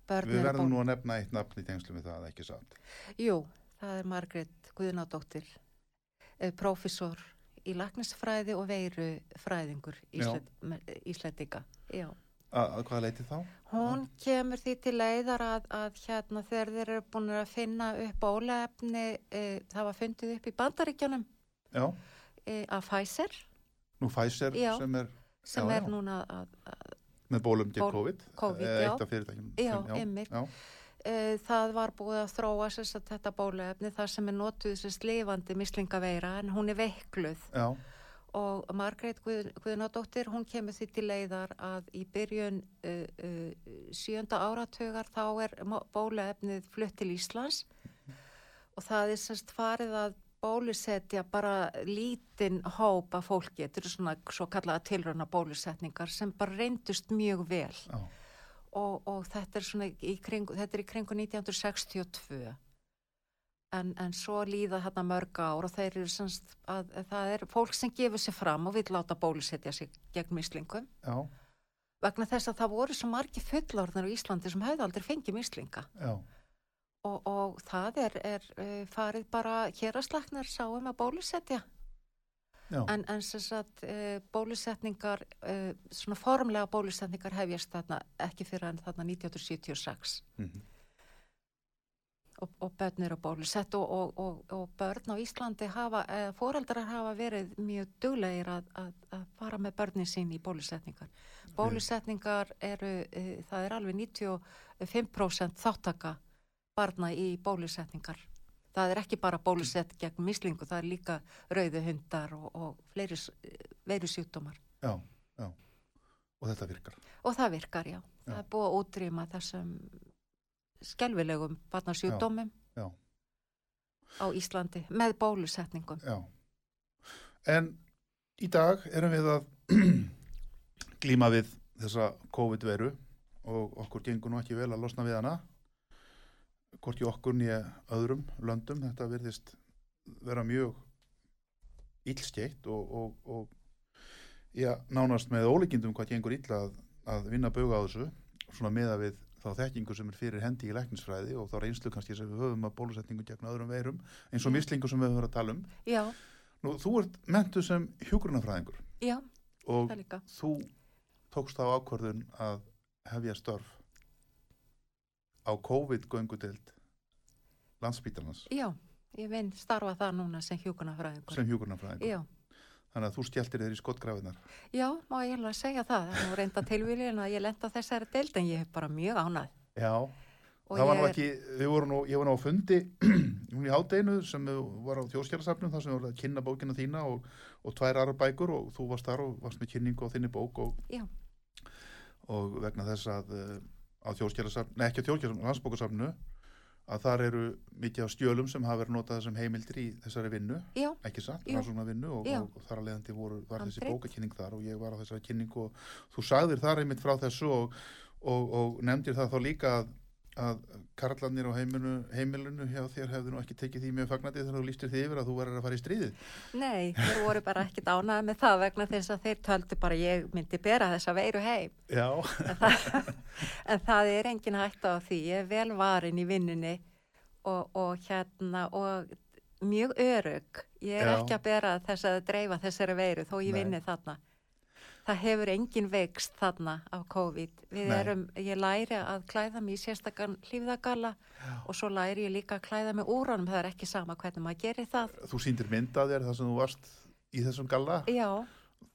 [SPEAKER 4] Börn
[SPEAKER 3] Við
[SPEAKER 4] eru
[SPEAKER 3] verðum
[SPEAKER 4] bólu-
[SPEAKER 3] nú að nefna eitt nafn í tengslum við það, ekki satt.
[SPEAKER 4] Jú, það er Margrét Guðnádóttir, profesor í lagnisfræði og veirufræðingur
[SPEAKER 3] Já.
[SPEAKER 4] Ísled, me- Íslendinga. Já.
[SPEAKER 3] Að að hvaða leiti þá?
[SPEAKER 4] Hún kemur því til leiðar að, að hérna þegar þeir eru búin að finna upp bólaefni, e, það var fundið upp í bandaríkjanum
[SPEAKER 3] Já,
[SPEAKER 4] e, af Pfizer
[SPEAKER 3] nú Pfizer
[SPEAKER 4] Já.
[SPEAKER 3] sem er
[SPEAKER 4] sem
[SPEAKER 3] Já,
[SPEAKER 4] er
[SPEAKER 3] já.
[SPEAKER 4] núna að, að
[SPEAKER 3] með bólum til
[SPEAKER 4] Ból-
[SPEAKER 3] COVID.
[SPEAKER 4] COVID,
[SPEAKER 3] eh,
[SPEAKER 4] já.
[SPEAKER 3] Eitt af fyrirtækjum.
[SPEAKER 4] Já,
[SPEAKER 3] sem-
[SPEAKER 4] einmitt.
[SPEAKER 3] Já,
[SPEAKER 4] Eh, það var búið að þróa sérst að þetta bóluefni þar sem er notuð sérst lifandi mislingaveira en hún er veikluð
[SPEAKER 3] já,
[SPEAKER 4] og Margrét Guð, Guðnadóttir hún kemur því til leiðar að í byrjun uh, uh, sjönda áratugar þá er mo- bóluefnið flutt til Íslands og það er sérst farið að bólusetja bara lítinn hóp af fólki, þetta eru svona svo kallaða tilröna bólusetningar sem bara reyndust mjög vel
[SPEAKER 3] já,
[SPEAKER 4] og, og þetta er svona í kringu, þetta er í kringu 1962 en, en svo líða þarna mörg ár og þeir eru semst að, að það er fólk sem gefur sér fram og vil láta bólusetja sig gegn mislingum
[SPEAKER 3] já,
[SPEAKER 4] vegna þess að það voru svo margi fullorðnar á Íslandi sem höfðu aldrei fengið mislinga
[SPEAKER 3] já,
[SPEAKER 4] og, og það er, er eh, farið bara héraslæknar sáum að bólusetja
[SPEAKER 3] já.
[SPEAKER 4] en, en sem sagt eh, bólusetningar eh, svona formlega bólusetningar hefjast þarna ekki fyrir en þarna 1976
[SPEAKER 3] Mhm.
[SPEAKER 4] og, og börn eru bólusett og, og, og, og börn á Íslandi hafa, eða foreldrar hafa verið mjög duglegir að, að, að fara með börnin sín í bólusetningar. Bólusetningar eru, eh, það er alveg 95% þáttaka barna í bólusetningar. Það er ekki bara bólusett gegn mislingu, það er líka rauðu hundar og, og fleiri s- eh, veirusjúkdómar.
[SPEAKER 3] Já, já. Og þetta virkar.
[SPEAKER 4] Og það virkar, já. Það
[SPEAKER 3] Já.
[SPEAKER 4] er búið að útrýma þessum skelfilegum barnasjúkdómum
[SPEAKER 3] Já, já.
[SPEAKER 4] á Íslandi með bólusetningum.
[SPEAKER 3] Já. En í dag erum við að *clears throat* glíma við þessa COVID-veru og okkur gengur nú ekki vel að losna við hana. Hvorki okkur nýja öðrum löndum, þetta virðist vera mjög illskeitt og, og, og já, nánast með ólíkindum hvað gengur illa að, að vinna buga á þessu, svona meða við þá þekkingu sem er fyrir hendi í læknisfræði og þá reynslu kannski sem við höfum að bólusetningu gegn öðrum veirum, eins og mislingu sem við höfum verið að tala um.
[SPEAKER 4] Já,
[SPEAKER 3] Nú, þú ert mentu sem hjúgrunafræðingur
[SPEAKER 4] já,
[SPEAKER 3] og
[SPEAKER 4] það líka.
[SPEAKER 3] þú tókst þá ákvörðun að hefja störf á COVID-göngudeld landsbítalans
[SPEAKER 4] Já, ég vinn starfa það núna sem hjúkunarfræðingur.
[SPEAKER 3] sem hjúgrunafræðingur.
[SPEAKER 4] Já,
[SPEAKER 3] Þannig að þú stjæltir þér í skottgrafinar.
[SPEAKER 4] já, má ég eiginlega segja það. Það er nú reynda tilvílin að ég lenda þessari deild en ég hef bara mjög ánað.
[SPEAKER 3] Já,
[SPEAKER 4] Og
[SPEAKER 3] það var
[SPEAKER 4] ég
[SPEAKER 3] nú
[SPEAKER 4] er-
[SPEAKER 3] ekki, við vorum nú, ég var nú á fundi *clears throat* núna í hádeginu sem var á þjóðskjærasafnum þar sem voru að kynna bókina þína og, og tvær aðra bækur og þú varst þar og varst með kynningu á þinni bók og
[SPEAKER 4] Já,
[SPEAKER 3] og vegna þess að uh, á þjóðskjælasafn, nei ekki á þjóðskjælasafn, landsbókasafnu að þar eru mikið af stjölum sem hafa verið notað sem heimildir í þessari vinnu,
[SPEAKER 4] já,
[SPEAKER 3] ekki satt,
[SPEAKER 4] Jú.
[SPEAKER 3] rannsókna vinnu og,
[SPEAKER 4] Já.
[SPEAKER 3] og, og þar að leiðandi voru, var þessi
[SPEAKER 4] Handrit.
[SPEAKER 3] bókakynning þar og ég var á þessari kynningu og þú sagðir þar einmitt frá þessu og, og, og nefndir það þá líka að, að karlarnir á heimilinu, heimilinu hjá þér hefðu nú ekki tekið því mjög fagnandi þegar þú lístir því yfir að þú verður að fara í stríðið.
[SPEAKER 4] nei, þeir voru bara ekkit ánað með það vegna þess að þeir töldu bara að ég myndi bera þessa veiru heim.
[SPEAKER 3] Já,
[SPEAKER 4] En það, *laughs* en það er engin hætta á því. Ég er vel varin í vinnunni og, og hérna og mjög örug. Ég er
[SPEAKER 3] Já.
[SPEAKER 4] ekki að bera þess að dreifa þessari veiru þó ég
[SPEAKER 3] Nei.
[SPEAKER 4] vinni þarna. það hefur engin veikst þarna á COVID. Við
[SPEAKER 3] Nei.
[SPEAKER 4] erum, ég læri að klæða mig í sérstakann hlýfðagalla og svo læri ég líka að klæða mig úr honum, það er ekki sama hvernig maður gerir það.
[SPEAKER 3] Þú sýndir mynda þér þar sem þú varst í þessum galla.
[SPEAKER 4] Já,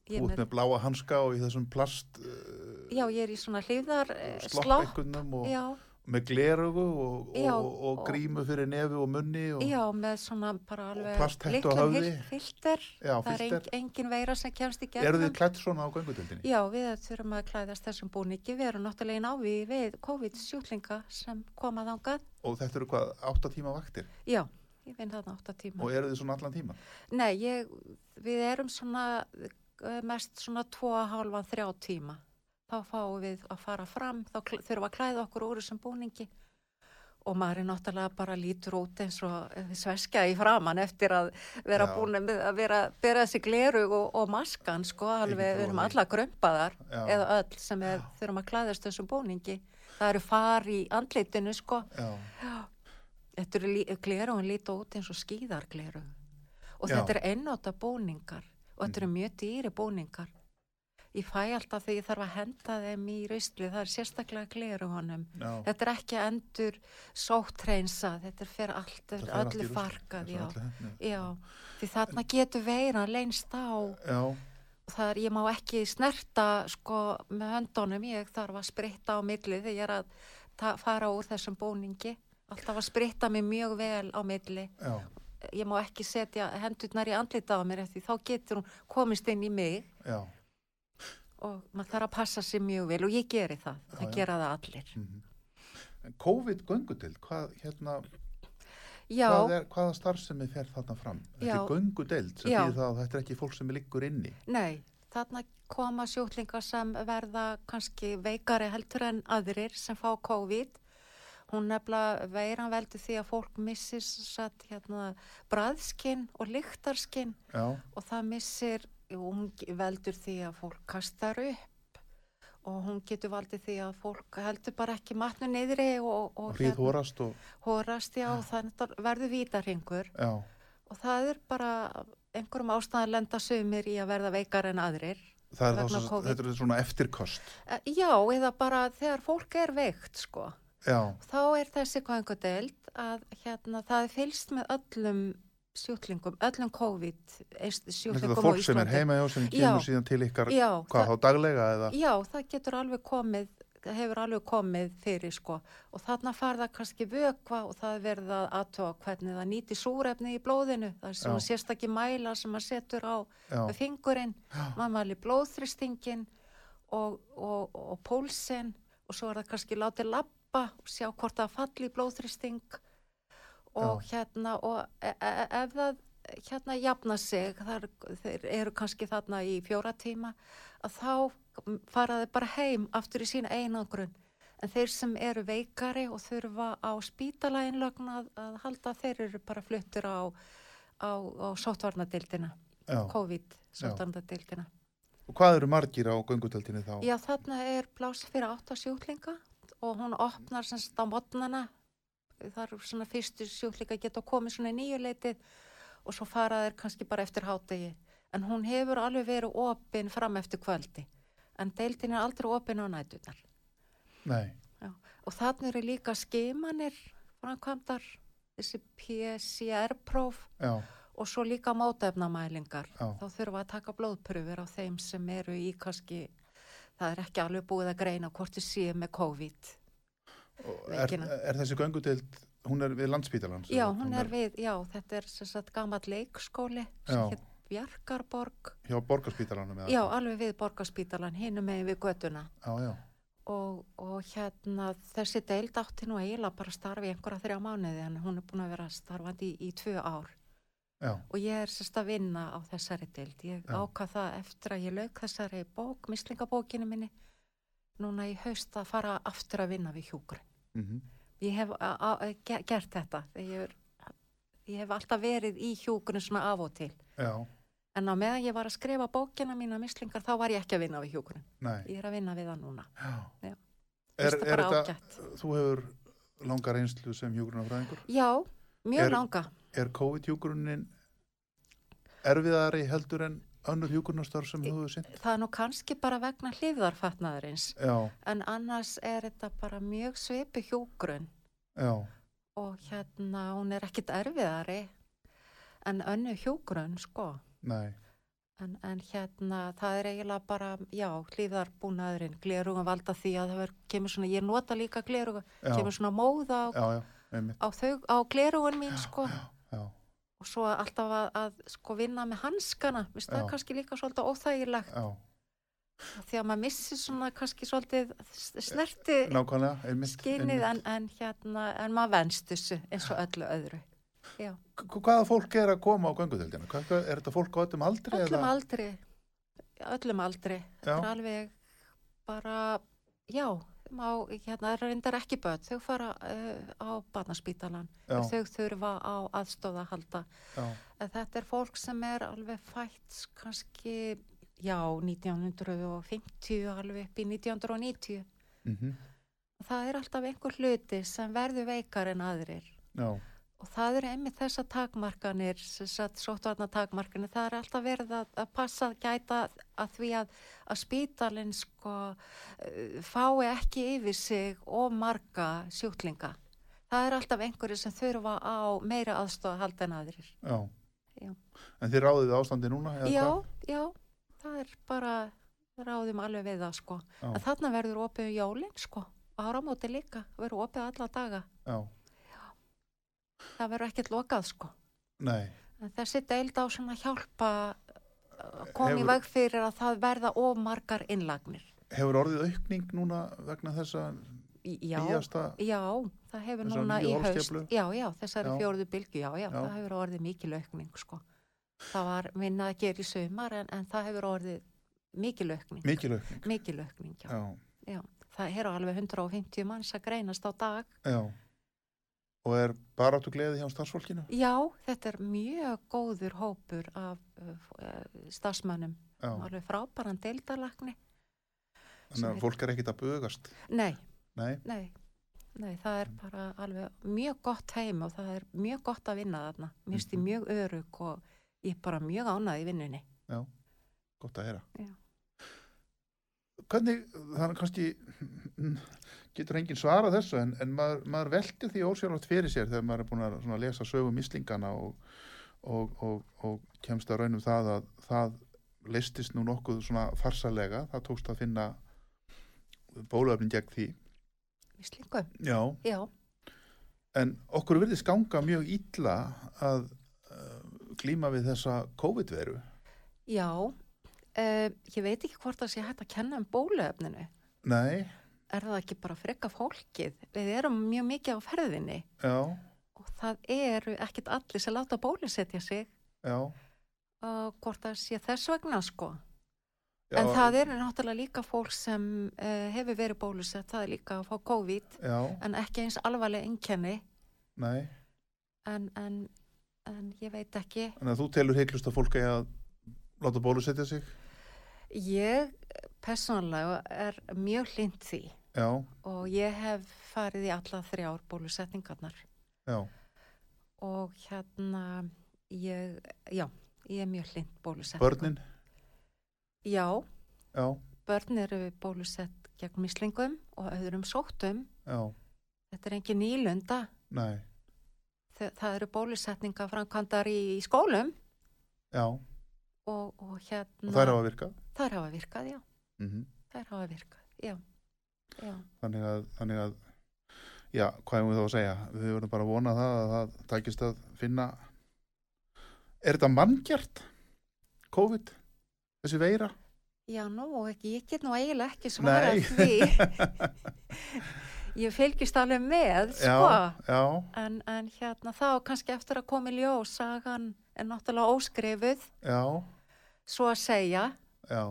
[SPEAKER 3] Þú
[SPEAKER 4] ég,
[SPEAKER 3] ert
[SPEAKER 4] með,
[SPEAKER 3] með bláa hanska og í þessum plast uh,
[SPEAKER 4] já, ég er í svona hlýfðar eh, slopp,
[SPEAKER 3] sloppekunnum og
[SPEAKER 4] já,
[SPEAKER 3] með glerugu og, og,
[SPEAKER 4] Já,
[SPEAKER 3] og, og
[SPEAKER 4] og-
[SPEAKER 3] grímu fyrir nefi og munni og
[SPEAKER 4] já, með svona bara alveg
[SPEAKER 3] plasthættu á
[SPEAKER 4] litla
[SPEAKER 3] höfði.
[SPEAKER 4] hil- filter,
[SPEAKER 3] Já,
[SPEAKER 4] það er
[SPEAKER 3] filter.
[SPEAKER 4] eng, engin veira sem kemst í
[SPEAKER 3] eru
[SPEAKER 4] gegnum.
[SPEAKER 3] þið klætt svona á göngutildinni?
[SPEAKER 4] Já, við þurfum að klæðast þessum búningi, við erum náttúrulega í návi við COVID-sjúklinga sem koma þangað.
[SPEAKER 3] Og þetta eru hvað, átta tíma vaktir?
[SPEAKER 4] Já, ég vinn þarna átta tíma.
[SPEAKER 3] Og eru þið svona allan tíma?
[SPEAKER 4] Nei, ég, við erum svona eh, mest svona tvo að hálfan þrjá tíma. Þá fáum við að fara fram, þá kl- þurfum við að klæða okkur úr þessum búningi og maður er náttúrulega bara lítur út eins og eh, sveskja í framann eftir að vera
[SPEAKER 3] Já.
[SPEAKER 4] búin með að vera að bera þessi glerug og, og maskan sko
[SPEAKER 3] trú
[SPEAKER 4] alveg,
[SPEAKER 3] á
[SPEAKER 4] við erum
[SPEAKER 3] því.
[SPEAKER 4] alla grömpaðar
[SPEAKER 3] Já.
[SPEAKER 4] eða öll sem er, þurfum að klæðast þessum búningi. Það eru far í andlitinu sko.
[SPEAKER 3] Já,
[SPEAKER 4] Þetta eru glerugun líta út eins og skíðargleru
[SPEAKER 3] Já.
[SPEAKER 4] og
[SPEAKER 3] Mhm.
[SPEAKER 4] þetta eru einnóta búningar og þetta eru mjög dýri búningar. Ég fæ alltaf þegar ég þarf að henda þeim í raustlu, það er sérstaklega glerugunum.
[SPEAKER 3] já.
[SPEAKER 4] Þetta er ekki endur sóttreinsa, þetta er fyrir allt, þetta
[SPEAKER 3] Þetta
[SPEAKER 4] er
[SPEAKER 3] fer allt í
[SPEAKER 4] allir
[SPEAKER 3] rusl.
[SPEAKER 4] fargað,
[SPEAKER 3] Þetta
[SPEAKER 4] já.
[SPEAKER 3] er allir hérna.
[SPEAKER 4] Já, því þarna getur veira leinst á
[SPEAKER 3] Já,
[SPEAKER 4] og það er, ég má ekki snerta sko með höndunum, ég þarf að spritta á milli þegar ég er að ta- fara úr þessum búningi, alltaf að spritta mig mjög vel á milli
[SPEAKER 3] já,
[SPEAKER 4] ég má ekki setja hendurnar í andlita á mér af því þá getur hún komist inn í mig
[SPEAKER 3] já.
[SPEAKER 4] og maður þarf að passa sér mjög vel og ég geri það, það
[SPEAKER 3] já. Mm.
[SPEAKER 4] gera það allir
[SPEAKER 3] En COVID-göngutild, hvað, hérna,
[SPEAKER 4] já,
[SPEAKER 3] hvað er, hvaða starfsemi fer þarna fram? Þetta
[SPEAKER 4] Já.
[SPEAKER 3] er göngudeild sem
[SPEAKER 4] Já.
[SPEAKER 3] þýðir það að þetta er ekki fólk sem liggur inni.
[SPEAKER 4] nei þarna koma sjúklingar sem verða kannski veikari heldur en aðrir sem fá COVID hún nefnilega veiran veldur því að fólk missir satt hérna bræðskinn og lyktarskinn
[SPEAKER 3] Já,
[SPEAKER 4] og það missir hún veldur því að fólk kastar upp og hún getur valdið því að fólk heldur bara ekki matnu niðri og, og hérna-
[SPEAKER 3] hríð horast og,
[SPEAKER 4] horast já, og þannig verður vítarhingur
[SPEAKER 3] já,
[SPEAKER 4] og það er bara einhverjum ástæðan lenda sumir í að verða veikar en aðrir
[SPEAKER 3] það er
[SPEAKER 4] Vegna
[SPEAKER 3] þá, sem,
[SPEAKER 4] COVID.
[SPEAKER 3] þetta er svona eftirkost.
[SPEAKER 4] E, já, eða bara þegar fólk er veikt sko,
[SPEAKER 3] Já,
[SPEAKER 4] þá er þessi kvangudeld að hérna, það er fylst með öllum sjúklingum, öllum COVID
[SPEAKER 3] þetta
[SPEAKER 4] sjúklingum
[SPEAKER 3] er
[SPEAKER 4] á
[SPEAKER 3] fólk sem er
[SPEAKER 4] Íslandi.
[SPEAKER 3] heima hjá sem
[SPEAKER 4] Já.
[SPEAKER 3] kemur síðan til ykkar,
[SPEAKER 4] Já,
[SPEAKER 3] hvað þá daglega eða?
[SPEAKER 4] Já, það getur alveg komið, það hefur alveg komið fyrir sko og þarna far það kannski vökva og það verða aðtóa hvernig það nýti súrefni í blóðinu. Það er svona
[SPEAKER 3] Já.
[SPEAKER 4] sérstakki mæla sem maður setur á
[SPEAKER 3] Já.
[SPEAKER 4] með fingurinn, maður mæli blóðþristingin og, og, og pólsinn og svo er það kannski látið lappa og sjá hvort það falli í blóðþristing og hérna og e e e- ef það hérna jafna sig, þar, þeir eru kannski þarna í fjóra tíma að þá fara þeir bara heim aftur í sína einangrun en þeir sem eru veikari og þurfa á spítalæginlögn að, að halda þeir eru bara fluttir á, á, á sóttvarnadildina
[SPEAKER 3] Já.
[SPEAKER 4] COVID-sóttvarnadildina
[SPEAKER 3] Og hvað eru margir á göngutildinni þá?
[SPEAKER 4] Já, þarna er pláss fyrir átta sjúklinga og hún opnar sem sagt á modnana. Það eru svona fyrstu sjúklinga geta komið svona í nýjuleitið og svo fara þeir kannski bara eftir hátegi. En hún hefur alveg verið opinn fram eftir kvöldi. En deildin er aldrei opinn á nætunar.
[SPEAKER 3] Nei,
[SPEAKER 4] Já. Og þarna eru líka skimanir framkvæmdar, þessi PCR-próf
[SPEAKER 3] já,
[SPEAKER 4] og svo líka mótefnamælingar.
[SPEAKER 3] Já.
[SPEAKER 4] Þá þurfum við að taka blóðpröfur á þeim sem eru í kannski, það er ekki alveg búið að greina hvort þið séu með COVID.
[SPEAKER 3] Og er,
[SPEAKER 4] Veikina.
[SPEAKER 3] er þessi göngudild, hún er við landspítalans?
[SPEAKER 4] Já, hún er við, já, þetta er sem sagt gammal leikskóli
[SPEAKER 3] Já.
[SPEAKER 4] sem hétt Bjarkarborg.
[SPEAKER 3] Hjá borgarspítalanum eða?
[SPEAKER 4] Já, alveg við Borgarspítalan, hinum megin við götuna.
[SPEAKER 3] Já, já,
[SPEAKER 4] Og, og hérna þessi deild átti nú eiginlega bara að starfi í einhverja þrjá mánuði en hún er búin að vera starfandi í, í tvö ár.
[SPEAKER 3] já,
[SPEAKER 4] og ég er sérst að vinna á þessari deild. Ég
[SPEAKER 3] Já.
[SPEAKER 4] ákvað það eftir að ég lauk þessari bók, mislingabókinu minni, núna í haust að fara aftur að vinna við hjúgrun.
[SPEAKER 3] mhm.
[SPEAKER 4] Ég hef a- a- a- ge- gert þetta. Ég, er, ég hef alltaf verið í hjúgrun svona af og til.
[SPEAKER 3] Já,
[SPEAKER 4] En á meðan ég var að skrifa bókina mína mislingar, þá var ég ekki að vinna við hjúgrun.
[SPEAKER 3] nei,
[SPEAKER 4] Ég er að vinna við það núna.
[SPEAKER 3] já.
[SPEAKER 4] Já.
[SPEAKER 3] Er,
[SPEAKER 4] Finnst það
[SPEAKER 3] er
[SPEAKER 4] bara
[SPEAKER 3] þetta,
[SPEAKER 4] ágætt.
[SPEAKER 3] þú hefur langar einslu sem hjúgrunafræðingur.
[SPEAKER 4] Já, mjög
[SPEAKER 3] Er-
[SPEAKER 4] langa.
[SPEAKER 3] Er COVID-hjúgrunin erfiðari heldur en önnur hjúkurnastörf sem þú hefur sinn?
[SPEAKER 4] Það er nú kannski bara vegna hlýðarfatnaðurins
[SPEAKER 3] Já,
[SPEAKER 4] en annars er þetta bara mjög svipi hjúgrun
[SPEAKER 3] já,
[SPEAKER 4] og hérna hún er ekkit erfiðari en önnu hjúgrun sko
[SPEAKER 3] nei,
[SPEAKER 4] en, en hérna það er eiginlega bara já, hlýðarbúnaðurinn, gleruga valda því að það er, kemur svona, ég nota líka gleruga
[SPEAKER 3] Já.
[SPEAKER 4] kemur svona móða á,
[SPEAKER 3] já, já, einmitt,
[SPEAKER 4] á, þau, á glerugun mín sko
[SPEAKER 3] já,
[SPEAKER 4] og svo alltaf að, að sko vinna með hanskana, veist það
[SPEAKER 3] Já.
[SPEAKER 4] er kannski líka svolítið óþægilegt
[SPEAKER 3] já,
[SPEAKER 4] því að maður missir svona kannski svolítið s- snerti
[SPEAKER 3] nákvæmlega, einmitt.
[SPEAKER 4] skinnið en, en hérna, en maður venst þessu eins og öllu öðru já,
[SPEAKER 3] en... Hvaða fólk er að koma á göngudeldina? Hvað- hvað- Er þetta fólk á öllum aldri?
[SPEAKER 4] öllum
[SPEAKER 3] eða-
[SPEAKER 4] aldri öllum aldri þetta er
[SPEAKER 3] Já.
[SPEAKER 4] alveg bara já, má, hérna, það reyndar ekki börn þau fara uh, á barnaspítalan
[SPEAKER 3] Já.
[SPEAKER 4] þau þurfa á aðstóða að halda
[SPEAKER 3] Já,
[SPEAKER 4] en þetta er fólk sem er alveg fætt kannski, já, 1950 alveg upp í 1990
[SPEAKER 3] mhm,
[SPEAKER 4] það er alltaf einhver hluti sem verður veikar en aðrir
[SPEAKER 3] já,
[SPEAKER 4] og það eru einmitt þessar takmarkanir sóttvarna takmarkanir það er alltaf verið að, að passa að gæta að því að, að spítalinn sko eh, fái ekki yfir sig og marga sjúklinga það er alltaf einhverju sem þurfa á meira aðstofa að halda en aðrir
[SPEAKER 3] já.
[SPEAKER 4] Já.
[SPEAKER 3] En þið ráðið ástandi núna? eða
[SPEAKER 4] já,
[SPEAKER 3] hvað?
[SPEAKER 4] já, það er bara ráðum alveg við það sko
[SPEAKER 3] Já.
[SPEAKER 4] en þarna verður opið um jólin sko og áramóti líka, verður opið alla daga
[SPEAKER 3] Já,
[SPEAKER 4] það verður ekkert lokað sko
[SPEAKER 3] nei,
[SPEAKER 4] En Þessi deild á svona hjálpa uh, að koma í
[SPEAKER 3] Hefur-
[SPEAKER 4] veg fyrir að það verða of margar innlagnir.
[SPEAKER 3] hefur orðið aukning núna vegna þessa
[SPEAKER 4] Í- Já,
[SPEAKER 3] nýjasta?
[SPEAKER 4] já, það hefur
[SPEAKER 3] Þessar
[SPEAKER 4] núna í
[SPEAKER 3] nýju
[SPEAKER 4] haust.
[SPEAKER 3] holskeflu?
[SPEAKER 4] Já, já, þessari
[SPEAKER 3] Já.
[SPEAKER 4] fjóruðu bylgu, já, já,
[SPEAKER 3] Já.
[SPEAKER 4] það hefur orðið mikil aukning, sko. Það var minna að gera í sömar en, en það hefur orðið mikil aukning.
[SPEAKER 3] Mikil aukning?
[SPEAKER 4] Mikil aukning, já.
[SPEAKER 3] Já,
[SPEAKER 4] Það eru alveg 150 manns að greinast á dag.
[SPEAKER 3] já. Og er baráttu gleði hjá starfsfólkinu?
[SPEAKER 4] Já, þetta er mjög góður hópur af uh, starfsmönnum.
[SPEAKER 3] Já,
[SPEAKER 4] Alveg frábæran deildalagni.
[SPEAKER 3] þannig að fólk er ekkit að bugast.
[SPEAKER 4] Nei,
[SPEAKER 3] Nei,
[SPEAKER 4] Nei, nei, það er bara alveg mjög gott heim og það er mjög gott að vinna þarna. Mér finnst ég
[SPEAKER 3] Mhm.
[SPEAKER 4] mjög örug og ég er bara mjög ánað í vinnunni.
[SPEAKER 3] gott að heyra.
[SPEAKER 4] Já.
[SPEAKER 3] Hvernig, það er kannski, getur enginn svarað þessu, en, en maður, maður veltir því ósjálfátt fyrir sér þegar maður er búin að svona lesa sögu mislingana og, og, og, og kemst að raunum það að það listist nú nokkuð svona farsalega, það tókst að finna bólöfnin gegn því.
[SPEAKER 4] Við slingum,
[SPEAKER 3] Já,
[SPEAKER 4] já,
[SPEAKER 3] En okkur virðist ganga mjög illa að uh, glíma við þessa COVID-veru.
[SPEAKER 4] já. Uh, ég veit ekki hvort það sé hægt að kenna um bóluefninu.
[SPEAKER 3] Nei,
[SPEAKER 4] Er það ekki bara freka fólkið? Við erum mjög mikið á ferðinni
[SPEAKER 3] já,
[SPEAKER 4] og það eru ekkit allir sem láta bólusetja sig
[SPEAKER 3] já.
[SPEAKER 4] og hvort það sé þess vegna sko.
[SPEAKER 3] já
[SPEAKER 4] en það eru náttúrulega líka fólk sem uh, hefur verið bólusett, það er líka að fá COVID
[SPEAKER 3] Já,
[SPEAKER 4] en ekki eins alvarleg einkenni
[SPEAKER 3] nei.
[SPEAKER 4] en, en, en ég veit ekki
[SPEAKER 3] Þannig að þú telur heiklust að fólk eigi að láta bólusetja sig.
[SPEAKER 4] ég persónulega er mjög hlind því
[SPEAKER 3] Já,
[SPEAKER 4] og ég hef farið í alla þrjár bólusetningarnar
[SPEAKER 3] já,
[SPEAKER 4] og hérna ég, já, ég er mjög hlind bólusetningar
[SPEAKER 3] börnin,
[SPEAKER 4] já,
[SPEAKER 3] já,
[SPEAKER 4] börn eru bólusett gegn mislingum og öðrum sóttum
[SPEAKER 3] já,
[SPEAKER 4] þetta er engin nýlunda
[SPEAKER 3] nei,
[SPEAKER 4] Þa- það eru bólusetningar framkvæmdar í, í skólum
[SPEAKER 3] já.
[SPEAKER 4] og, og hérna
[SPEAKER 3] Og það er á að virka.
[SPEAKER 4] þær hafa virkað, já
[SPEAKER 3] Mm
[SPEAKER 4] Þær hafa virkað, já. já.
[SPEAKER 3] Þannig að, þannig að, já, hvað erum við þá að segja? Við verðum bara að vona það að það takist að finna. Er þetta manngjart? COVID? Þessi veira?
[SPEAKER 4] Já, nú, ekki, ég get nú eiginlega ekki svarað
[SPEAKER 3] Nei.
[SPEAKER 4] því. *laughs* ég fylgist alveg með, sko.
[SPEAKER 3] *laughs* Já, já,
[SPEAKER 4] En, en hérna þá kannski eftir að koma í ljós, sagan er náttúrulega óskrifuð,
[SPEAKER 3] já,
[SPEAKER 4] svo að segja.
[SPEAKER 3] já,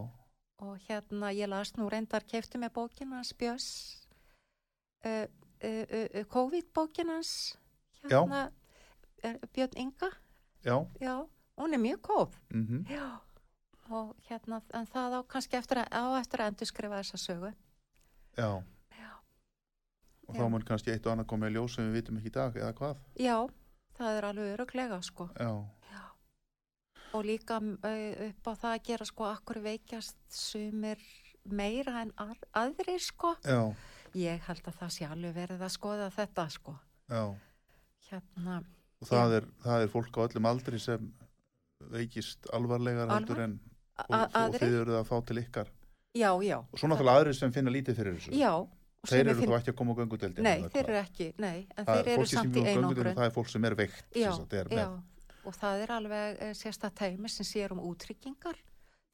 [SPEAKER 4] Og hérna, ég las nú reyndar kefti með bókin hans Björns, uh, uh, uh, uh, COVID-bókin hans,
[SPEAKER 3] Já.
[SPEAKER 4] hérna, er, Björn Inga,
[SPEAKER 3] já,
[SPEAKER 4] já, hún er mjög góð.
[SPEAKER 3] mhm,
[SPEAKER 4] Já, og hérna, en það á kannski eftir að, á eftir að endur skrifa þessa sögu.
[SPEAKER 3] já.
[SPEAKER 4] Já.
[SPEAKER 3] Og
[SPEAKER 4] Já.
[SPEAKER 3] þá mun kannski eitt og annað komið að ljós sem við vitum ekki í dag, eða hvað?
[SPEAKER 4] Já, það er alveg öruglega, sko.
[SPEAKER 3] Já,
[SPEAKER 4] og líka eh, upp á það að gera sko akkur veikjast sumir meira en ar- aðrir sko
[SPEAKER 3] já,
[SPEAKER 4] ég held að það sé alveg verið að skoða þetta sko
[SPEAKER 3] já.
[SPEAKER 4] hérna
[SPEAKER 3] Og það er, það er fólk á öllum aldri sem veikist alvarlegar heldur
[SPEAKER 4] Alvar-
[SPEAKER 3] en og,
[SPEAKER 4] a-
[SPEAKER 3] og
[SPEAKER 4] aðrir,
[SPEAKER 3] þið eru að fá til ykkar.
[SPEAKER 4] já, já
[SPEAKER 3] Og svo náttúrulega aðrir sem finna lítið fyrir þessu.
[SPEAKER 4] já, og
[SPEAKER 3] þeir
[SPEAKER 4] sumir
[SPEAKER 3] eru
[SPEAKER 4] finn-
[SPEAKER 3] þá ekki að koma á göngudeldinu.
[SPEAKER 4] nei, þeir eru ekki, nei, en þeir eru samt í einangrun
[SPEAKER 3] um Það er fólk sem er veikt. sem
[SPEAKER 4] já,
[SPEAKER 3] sagt, er með-
[SPEAKER 4] já, og það er alveg eh, sérstakt teimi sem sér um útryggingar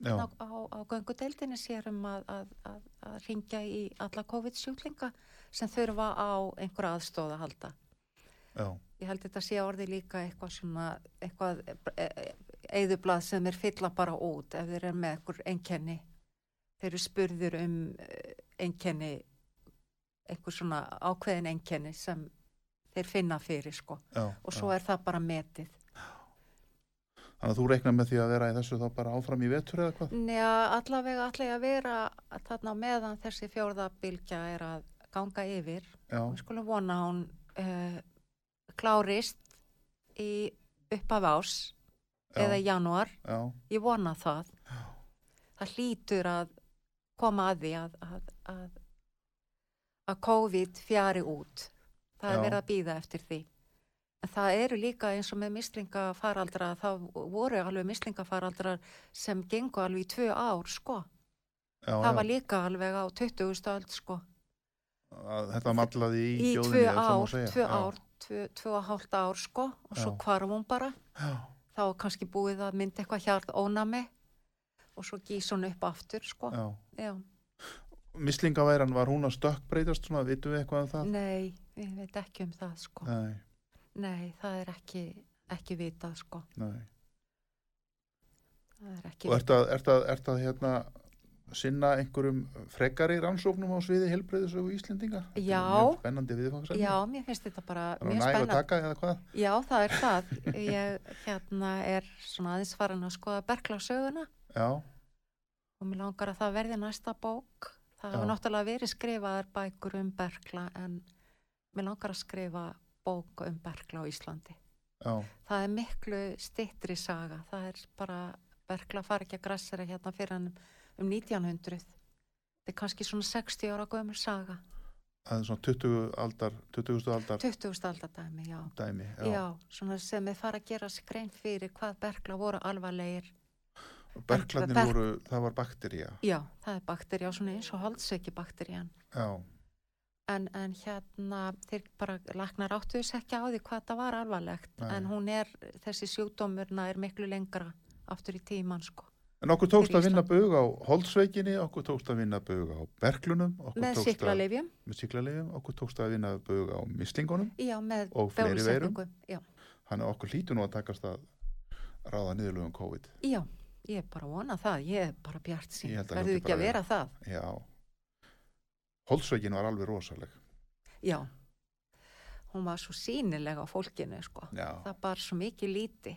[SPEAKER 3] já,
[SPEAKER 4] á, á, á göngudeildinni sér um að, að, að, að ringja í alla COVID-sjúklinga sem þurfa á einhverja aðstóð að halda.
[SPEAKER 3] já,
[SPEAKER 4] Ég held þetta sé orði líka eitthvað svona, eitthvað eðublað sem er fylla bara út ef þeir eru með einhver einkenni. Þeir eru spurður um eh, einkenni, einhver svona ákveðin einkenni sem þeir finna fyrir sko.
[SPEAKER 3] já.
[SPEAKER 4] Og svo
[SPEAKER 3] já.
[SPEAKER 4] er það bara metið.
[SPEAKER 3] Þannig að þú reiknar með því að vera í þessu þá bara áfram í vetur eða hvað?
[SPEAKER 4] Já, allavega ætla ég að vera þarna á meðan þessi fjórða bylgja er að ganga yfir.
[SPEAKER 3] Já,
[SPEAKER 4] Við skulum vona að hún uh, klárist í uppaf ás eða í
[SPEAKER 3] já,
[SPEAKER 4] janúar.
[SPEAKER 3] já,
[SPEAKER 4] Ég vona það. Það hlýtur að koma að því að, að, að, að COVID fjari út. Það
[SPEAKER 3] Já.
[SPEAKER 4] er verið að býða eftir því. En það eru líka eins og með mislingafaraldra, það voru alveg mislingafaraldrar sem gengu alveg í tvö ár, sko.
[SPEAKER 3] já.
[SPEAKER 4] það var líka alveg á 20. öld, sko.
[SPEAKER 3] að þetta mallaði í,
[SPEAKER 4] Í
[SPEAKER 3] þjóðinni,
[SPEAKER 4] tvö
[SPEAKER 3] ef svo má
[SPEAKER 4] ár,
[SPEAKER 3] segja.
[SPEAKER 4] tvö
[SPEAKER 3] Já,
[SPEAKER 4] ár, tvö, tvö og hálft ár, sko. Og svo
[SPEAKER 3] Já.
[SPEAKER 4] hvarf hún bara.
[SPEAKER 3] Já,
[SPEAKER 4] Þá var kannski búið að mynda eitthvað hjarð ónami og svo gís hún upp aftur, sko.
[SPEAKER 3] já.
[SPEAKER 4] Já.
[SPEAKER 3] Mislingaværan, var hún að stökkbreytast svona, vitum við eitthvað um það?
[SPEAKER 4] Nei, við veit ekki um það sko. Nei,
[SPEAKER 3] Nei,
[SPEAKER 4] það er ekki, ekki vitað sko.
[SPEAKER 3] nei.
[SPEAKER 4] Það er ekki
[SPEAKER 3] Og ert að, ert að, ert að hérna, sinna einhverjum frekari rannsóknum á sviði helbreyðisögu Íslendinga? Þetta er
[SPEAKER 4] Já.
[SPEAKER 3] mjög Spennandi viðfangsefni.
[SPEAKER 4] Já, mér finnst þetta bara
[SPEAKER 3] Það er
[SPEAKER 4] mjög
[SPEAKER 3] næg að
[SPEAKER 4] spennandi.
[SPEAKER 3] taka eða hvað?
[SPEAKER 4] Já, það er það. Ég hérna er svona aðeins farin að skoða berglasöguna
[SPEAKER 3] Já,
[SPEAKER 4] og mér langar að það verði næsta bók. Það hafa
[SPEAKER 3] Já.
[SPEAKER 4] náttúrulega verið skrifaðar bækur um bergla en mér langar að skrifa bók um bergla á Íslandi.
[SPEAKER 3] já,
[SPEAKER 4] það er miklu stittri saga það er bara bergla fara ekki að grassera hérna fyrir hann um 1900 þetta er kannski svona 60 ára gömur saga
[SPEAKER 3] það er svona 20 aldar, 20. aldar
[SPEAKER 4] 20. aldardæmi, já.
[SPEAKER 3] dæmi.
[SPEAKER 4] já svona sem við fara að gera sér grein fyrir hvað bergla voru alvarlegir
[SPEAKER 3] Berklarnir
[SPEAKER 4] Berk-
[SPEAKER 3] voru, það var baktería.
[SPEAKER 4] já, það er bakterja, svona eins og holdsveiki bakterjan
[SPEAKER 3] Já,
[SPEAKER 4] en, en hérna þeir bara lagnar áttu þess ekki á því hvað það var alvarlegt
[SPEAKER 3] Nei.
[SPEAKER 4] en hún er, þessi sjúkdómurna er miklu lengra aftur í tíman sko
[SPEAKER 3] en okkur tókst
[SPEAKER 4] Fyrir
[SPEAKER 3] að vinna bug á holdsveikinni, okkur tókst að vinna bug á berklunum, okkur
[SPEAKER 4] með
[SPEAKER 3] tókst að
[SPEAKER 4] siklalyfjum
[SPEAKER 3] með síklarleifum, okkur tókst að vinna bug á mislingunum,
[SPEAKER 4] Já, með
[SPEAKER 3] Og fleiri veirum.
[SPEAKER 4] bólusetningu. Já.
[SPEAKER 3] hann er okkur hlýtu nú að takast að ráða niðurlögum um COVID.
[SPEAKER 4] Já, ég er bara að vona það, ég er bara bjart sín,
[SPEAKER 3] Ég held að hljóti
[SPEAKER 4] verður ekki
[SPEAKER 3] bara
[SPEAKER 4] að
[SPEAKER 3] að
[SPEAKER 4] vera það.
[SPEAKER 3] Já, holdsveikin var alveg rosaleg.
[SPEAKER 4] Já, hún var svo sínileg á fólkinu, sko.
[SPEAKER 3] Já,
[SPEAKER 4] Það bar svo mikið líti.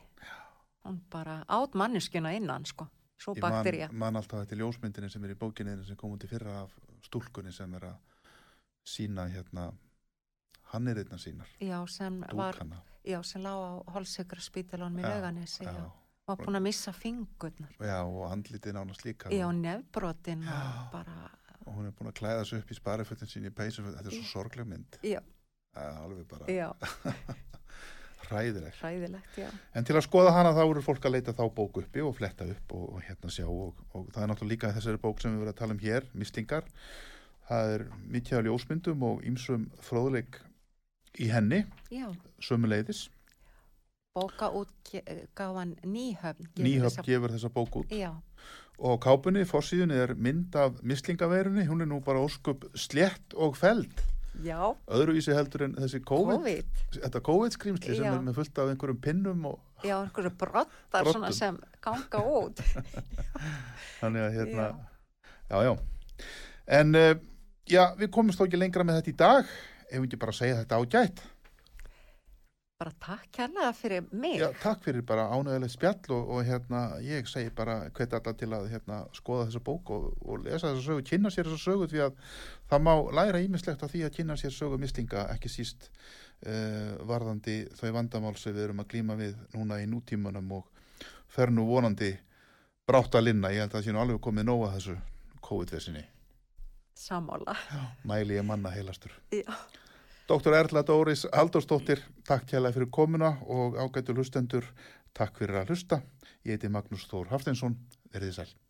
[SPEAKER 4] Hún bara átt manneskuna innan, sko, svo
[SPEAKER 3] ég
[SPEAKER 4] bakterja.
[SPEAKER 3] man, man alltaf þetta í ljósmyndinni sem er í bókinni þinni sem kom út í fyrra af stúlkunni sem er að sína hérna, hann er einna sínar,
[SPEAKER 4] Já, sem var,
[SPEAKER 3] dúkana.
[SPEAKER 4] já, sem lá á holsökra spítalónum í
[SPEAKER 3] Já,
[SPEAKER 4] veganesi, já.
[SPEAKER 3] Já,
[SPEAKER 4] Hún var búin að missa fingurnar.
[SPEAKER 3] já, og andlitið nánast líka.
[SPEAKER 4] Já, nefbrotin
[SPEAKER 3] Já.
[SPEAKER 4] og bara,
[SPEAKER 3] Og hún er búin að klæða sig upp í sparifötin sín í peysufötin, þetta er svo sorgleg mynd.
[SPEAKER 4] Já. Eh.
[SPEAKER 3] Það er alveg bara
[SPEAKER 4] já,
[SPEAKER 3] hræðileg.
[SPEAKER 4] hræðilegt, já.
[SPEAKER 3] En til að skoða hana þá eru fólk að leita þá bók uppi og fletta upp og, og hérna sjá og, og það er náttúrulega líka þessari bók sem við verðum að tala um hér, Mislingar. Það er mikið af ljósmyndum og ýmsum fróðleik í henni,
[SPEAKER 4] Já,
[SPEAKER 3] sömuleiðis.
[SPEAKER 4] bókaútgáfan Nýhöfn. gefur
[SPEAKER 3] Nýhöfn
[SPEAKER 4] þessa-
[SPEAKER 3] gefur þessa bók út
[SPEAKER 4] Já,
[SPEAKER 3] og á kápunni, fórsíðunni er mynd af mislingaveirunni, hún er nú bara óskup slétt og feld.
[SPEAKER 4] já,
[SPEAKER 3] Öðruvísi heldur en þessi COVID,
[SPEAKER 4] COVID.
[SPEAKER 3] þetta COVID-skrýmsli sem
[SPEAKER 4] Já.
[SPEAKER 3] er með fullt af einhverjum pinnum og
[SPEAKER 4] Já, einhverju brottar svona
[SPEAKER 3] Broddum.
[SPEAKER 4] sem ganga út.
[SPEAKER 3] þannig að hérna já, já en uh, já, við komumst þó ekki lengra með þetta í dag ef við ekki bara segja þetta ágætt
[SPEAKER 4] Bara takk kærlega fyrir mig.
[SPEAKER 3] já, takk fyrir bara ánægilegt spjall og, og hérna, ég segi bara hvet alla til að hérna, skoða þessa bók og, og lesa þessa sögu, kynna sér þessa sögu því að það má læra ímislegt á því að kynna sér sögu mislinga, ekki síst eh, uh, varðandi þau vandamál sem við erum að glíma við núna í nútímanum og fer nú vonandi brátt að linna. Ég held að það sé nú alveg komið nóga þessu COVID-vesinni.
[SPEAKER 4] sammála.
[SPEAKER 3] Mæli ég manna heilastur.
[SPEAKER 4] Já.
[SPEAKER 3] Dr. Erla Dóris Aldorsdóttir, takk kjælega fyrir komuna og ágætu hlustendur, takk fyrir að hlusta. Ég heiti Magnús Þór Hafsteinsson, verðið sæl.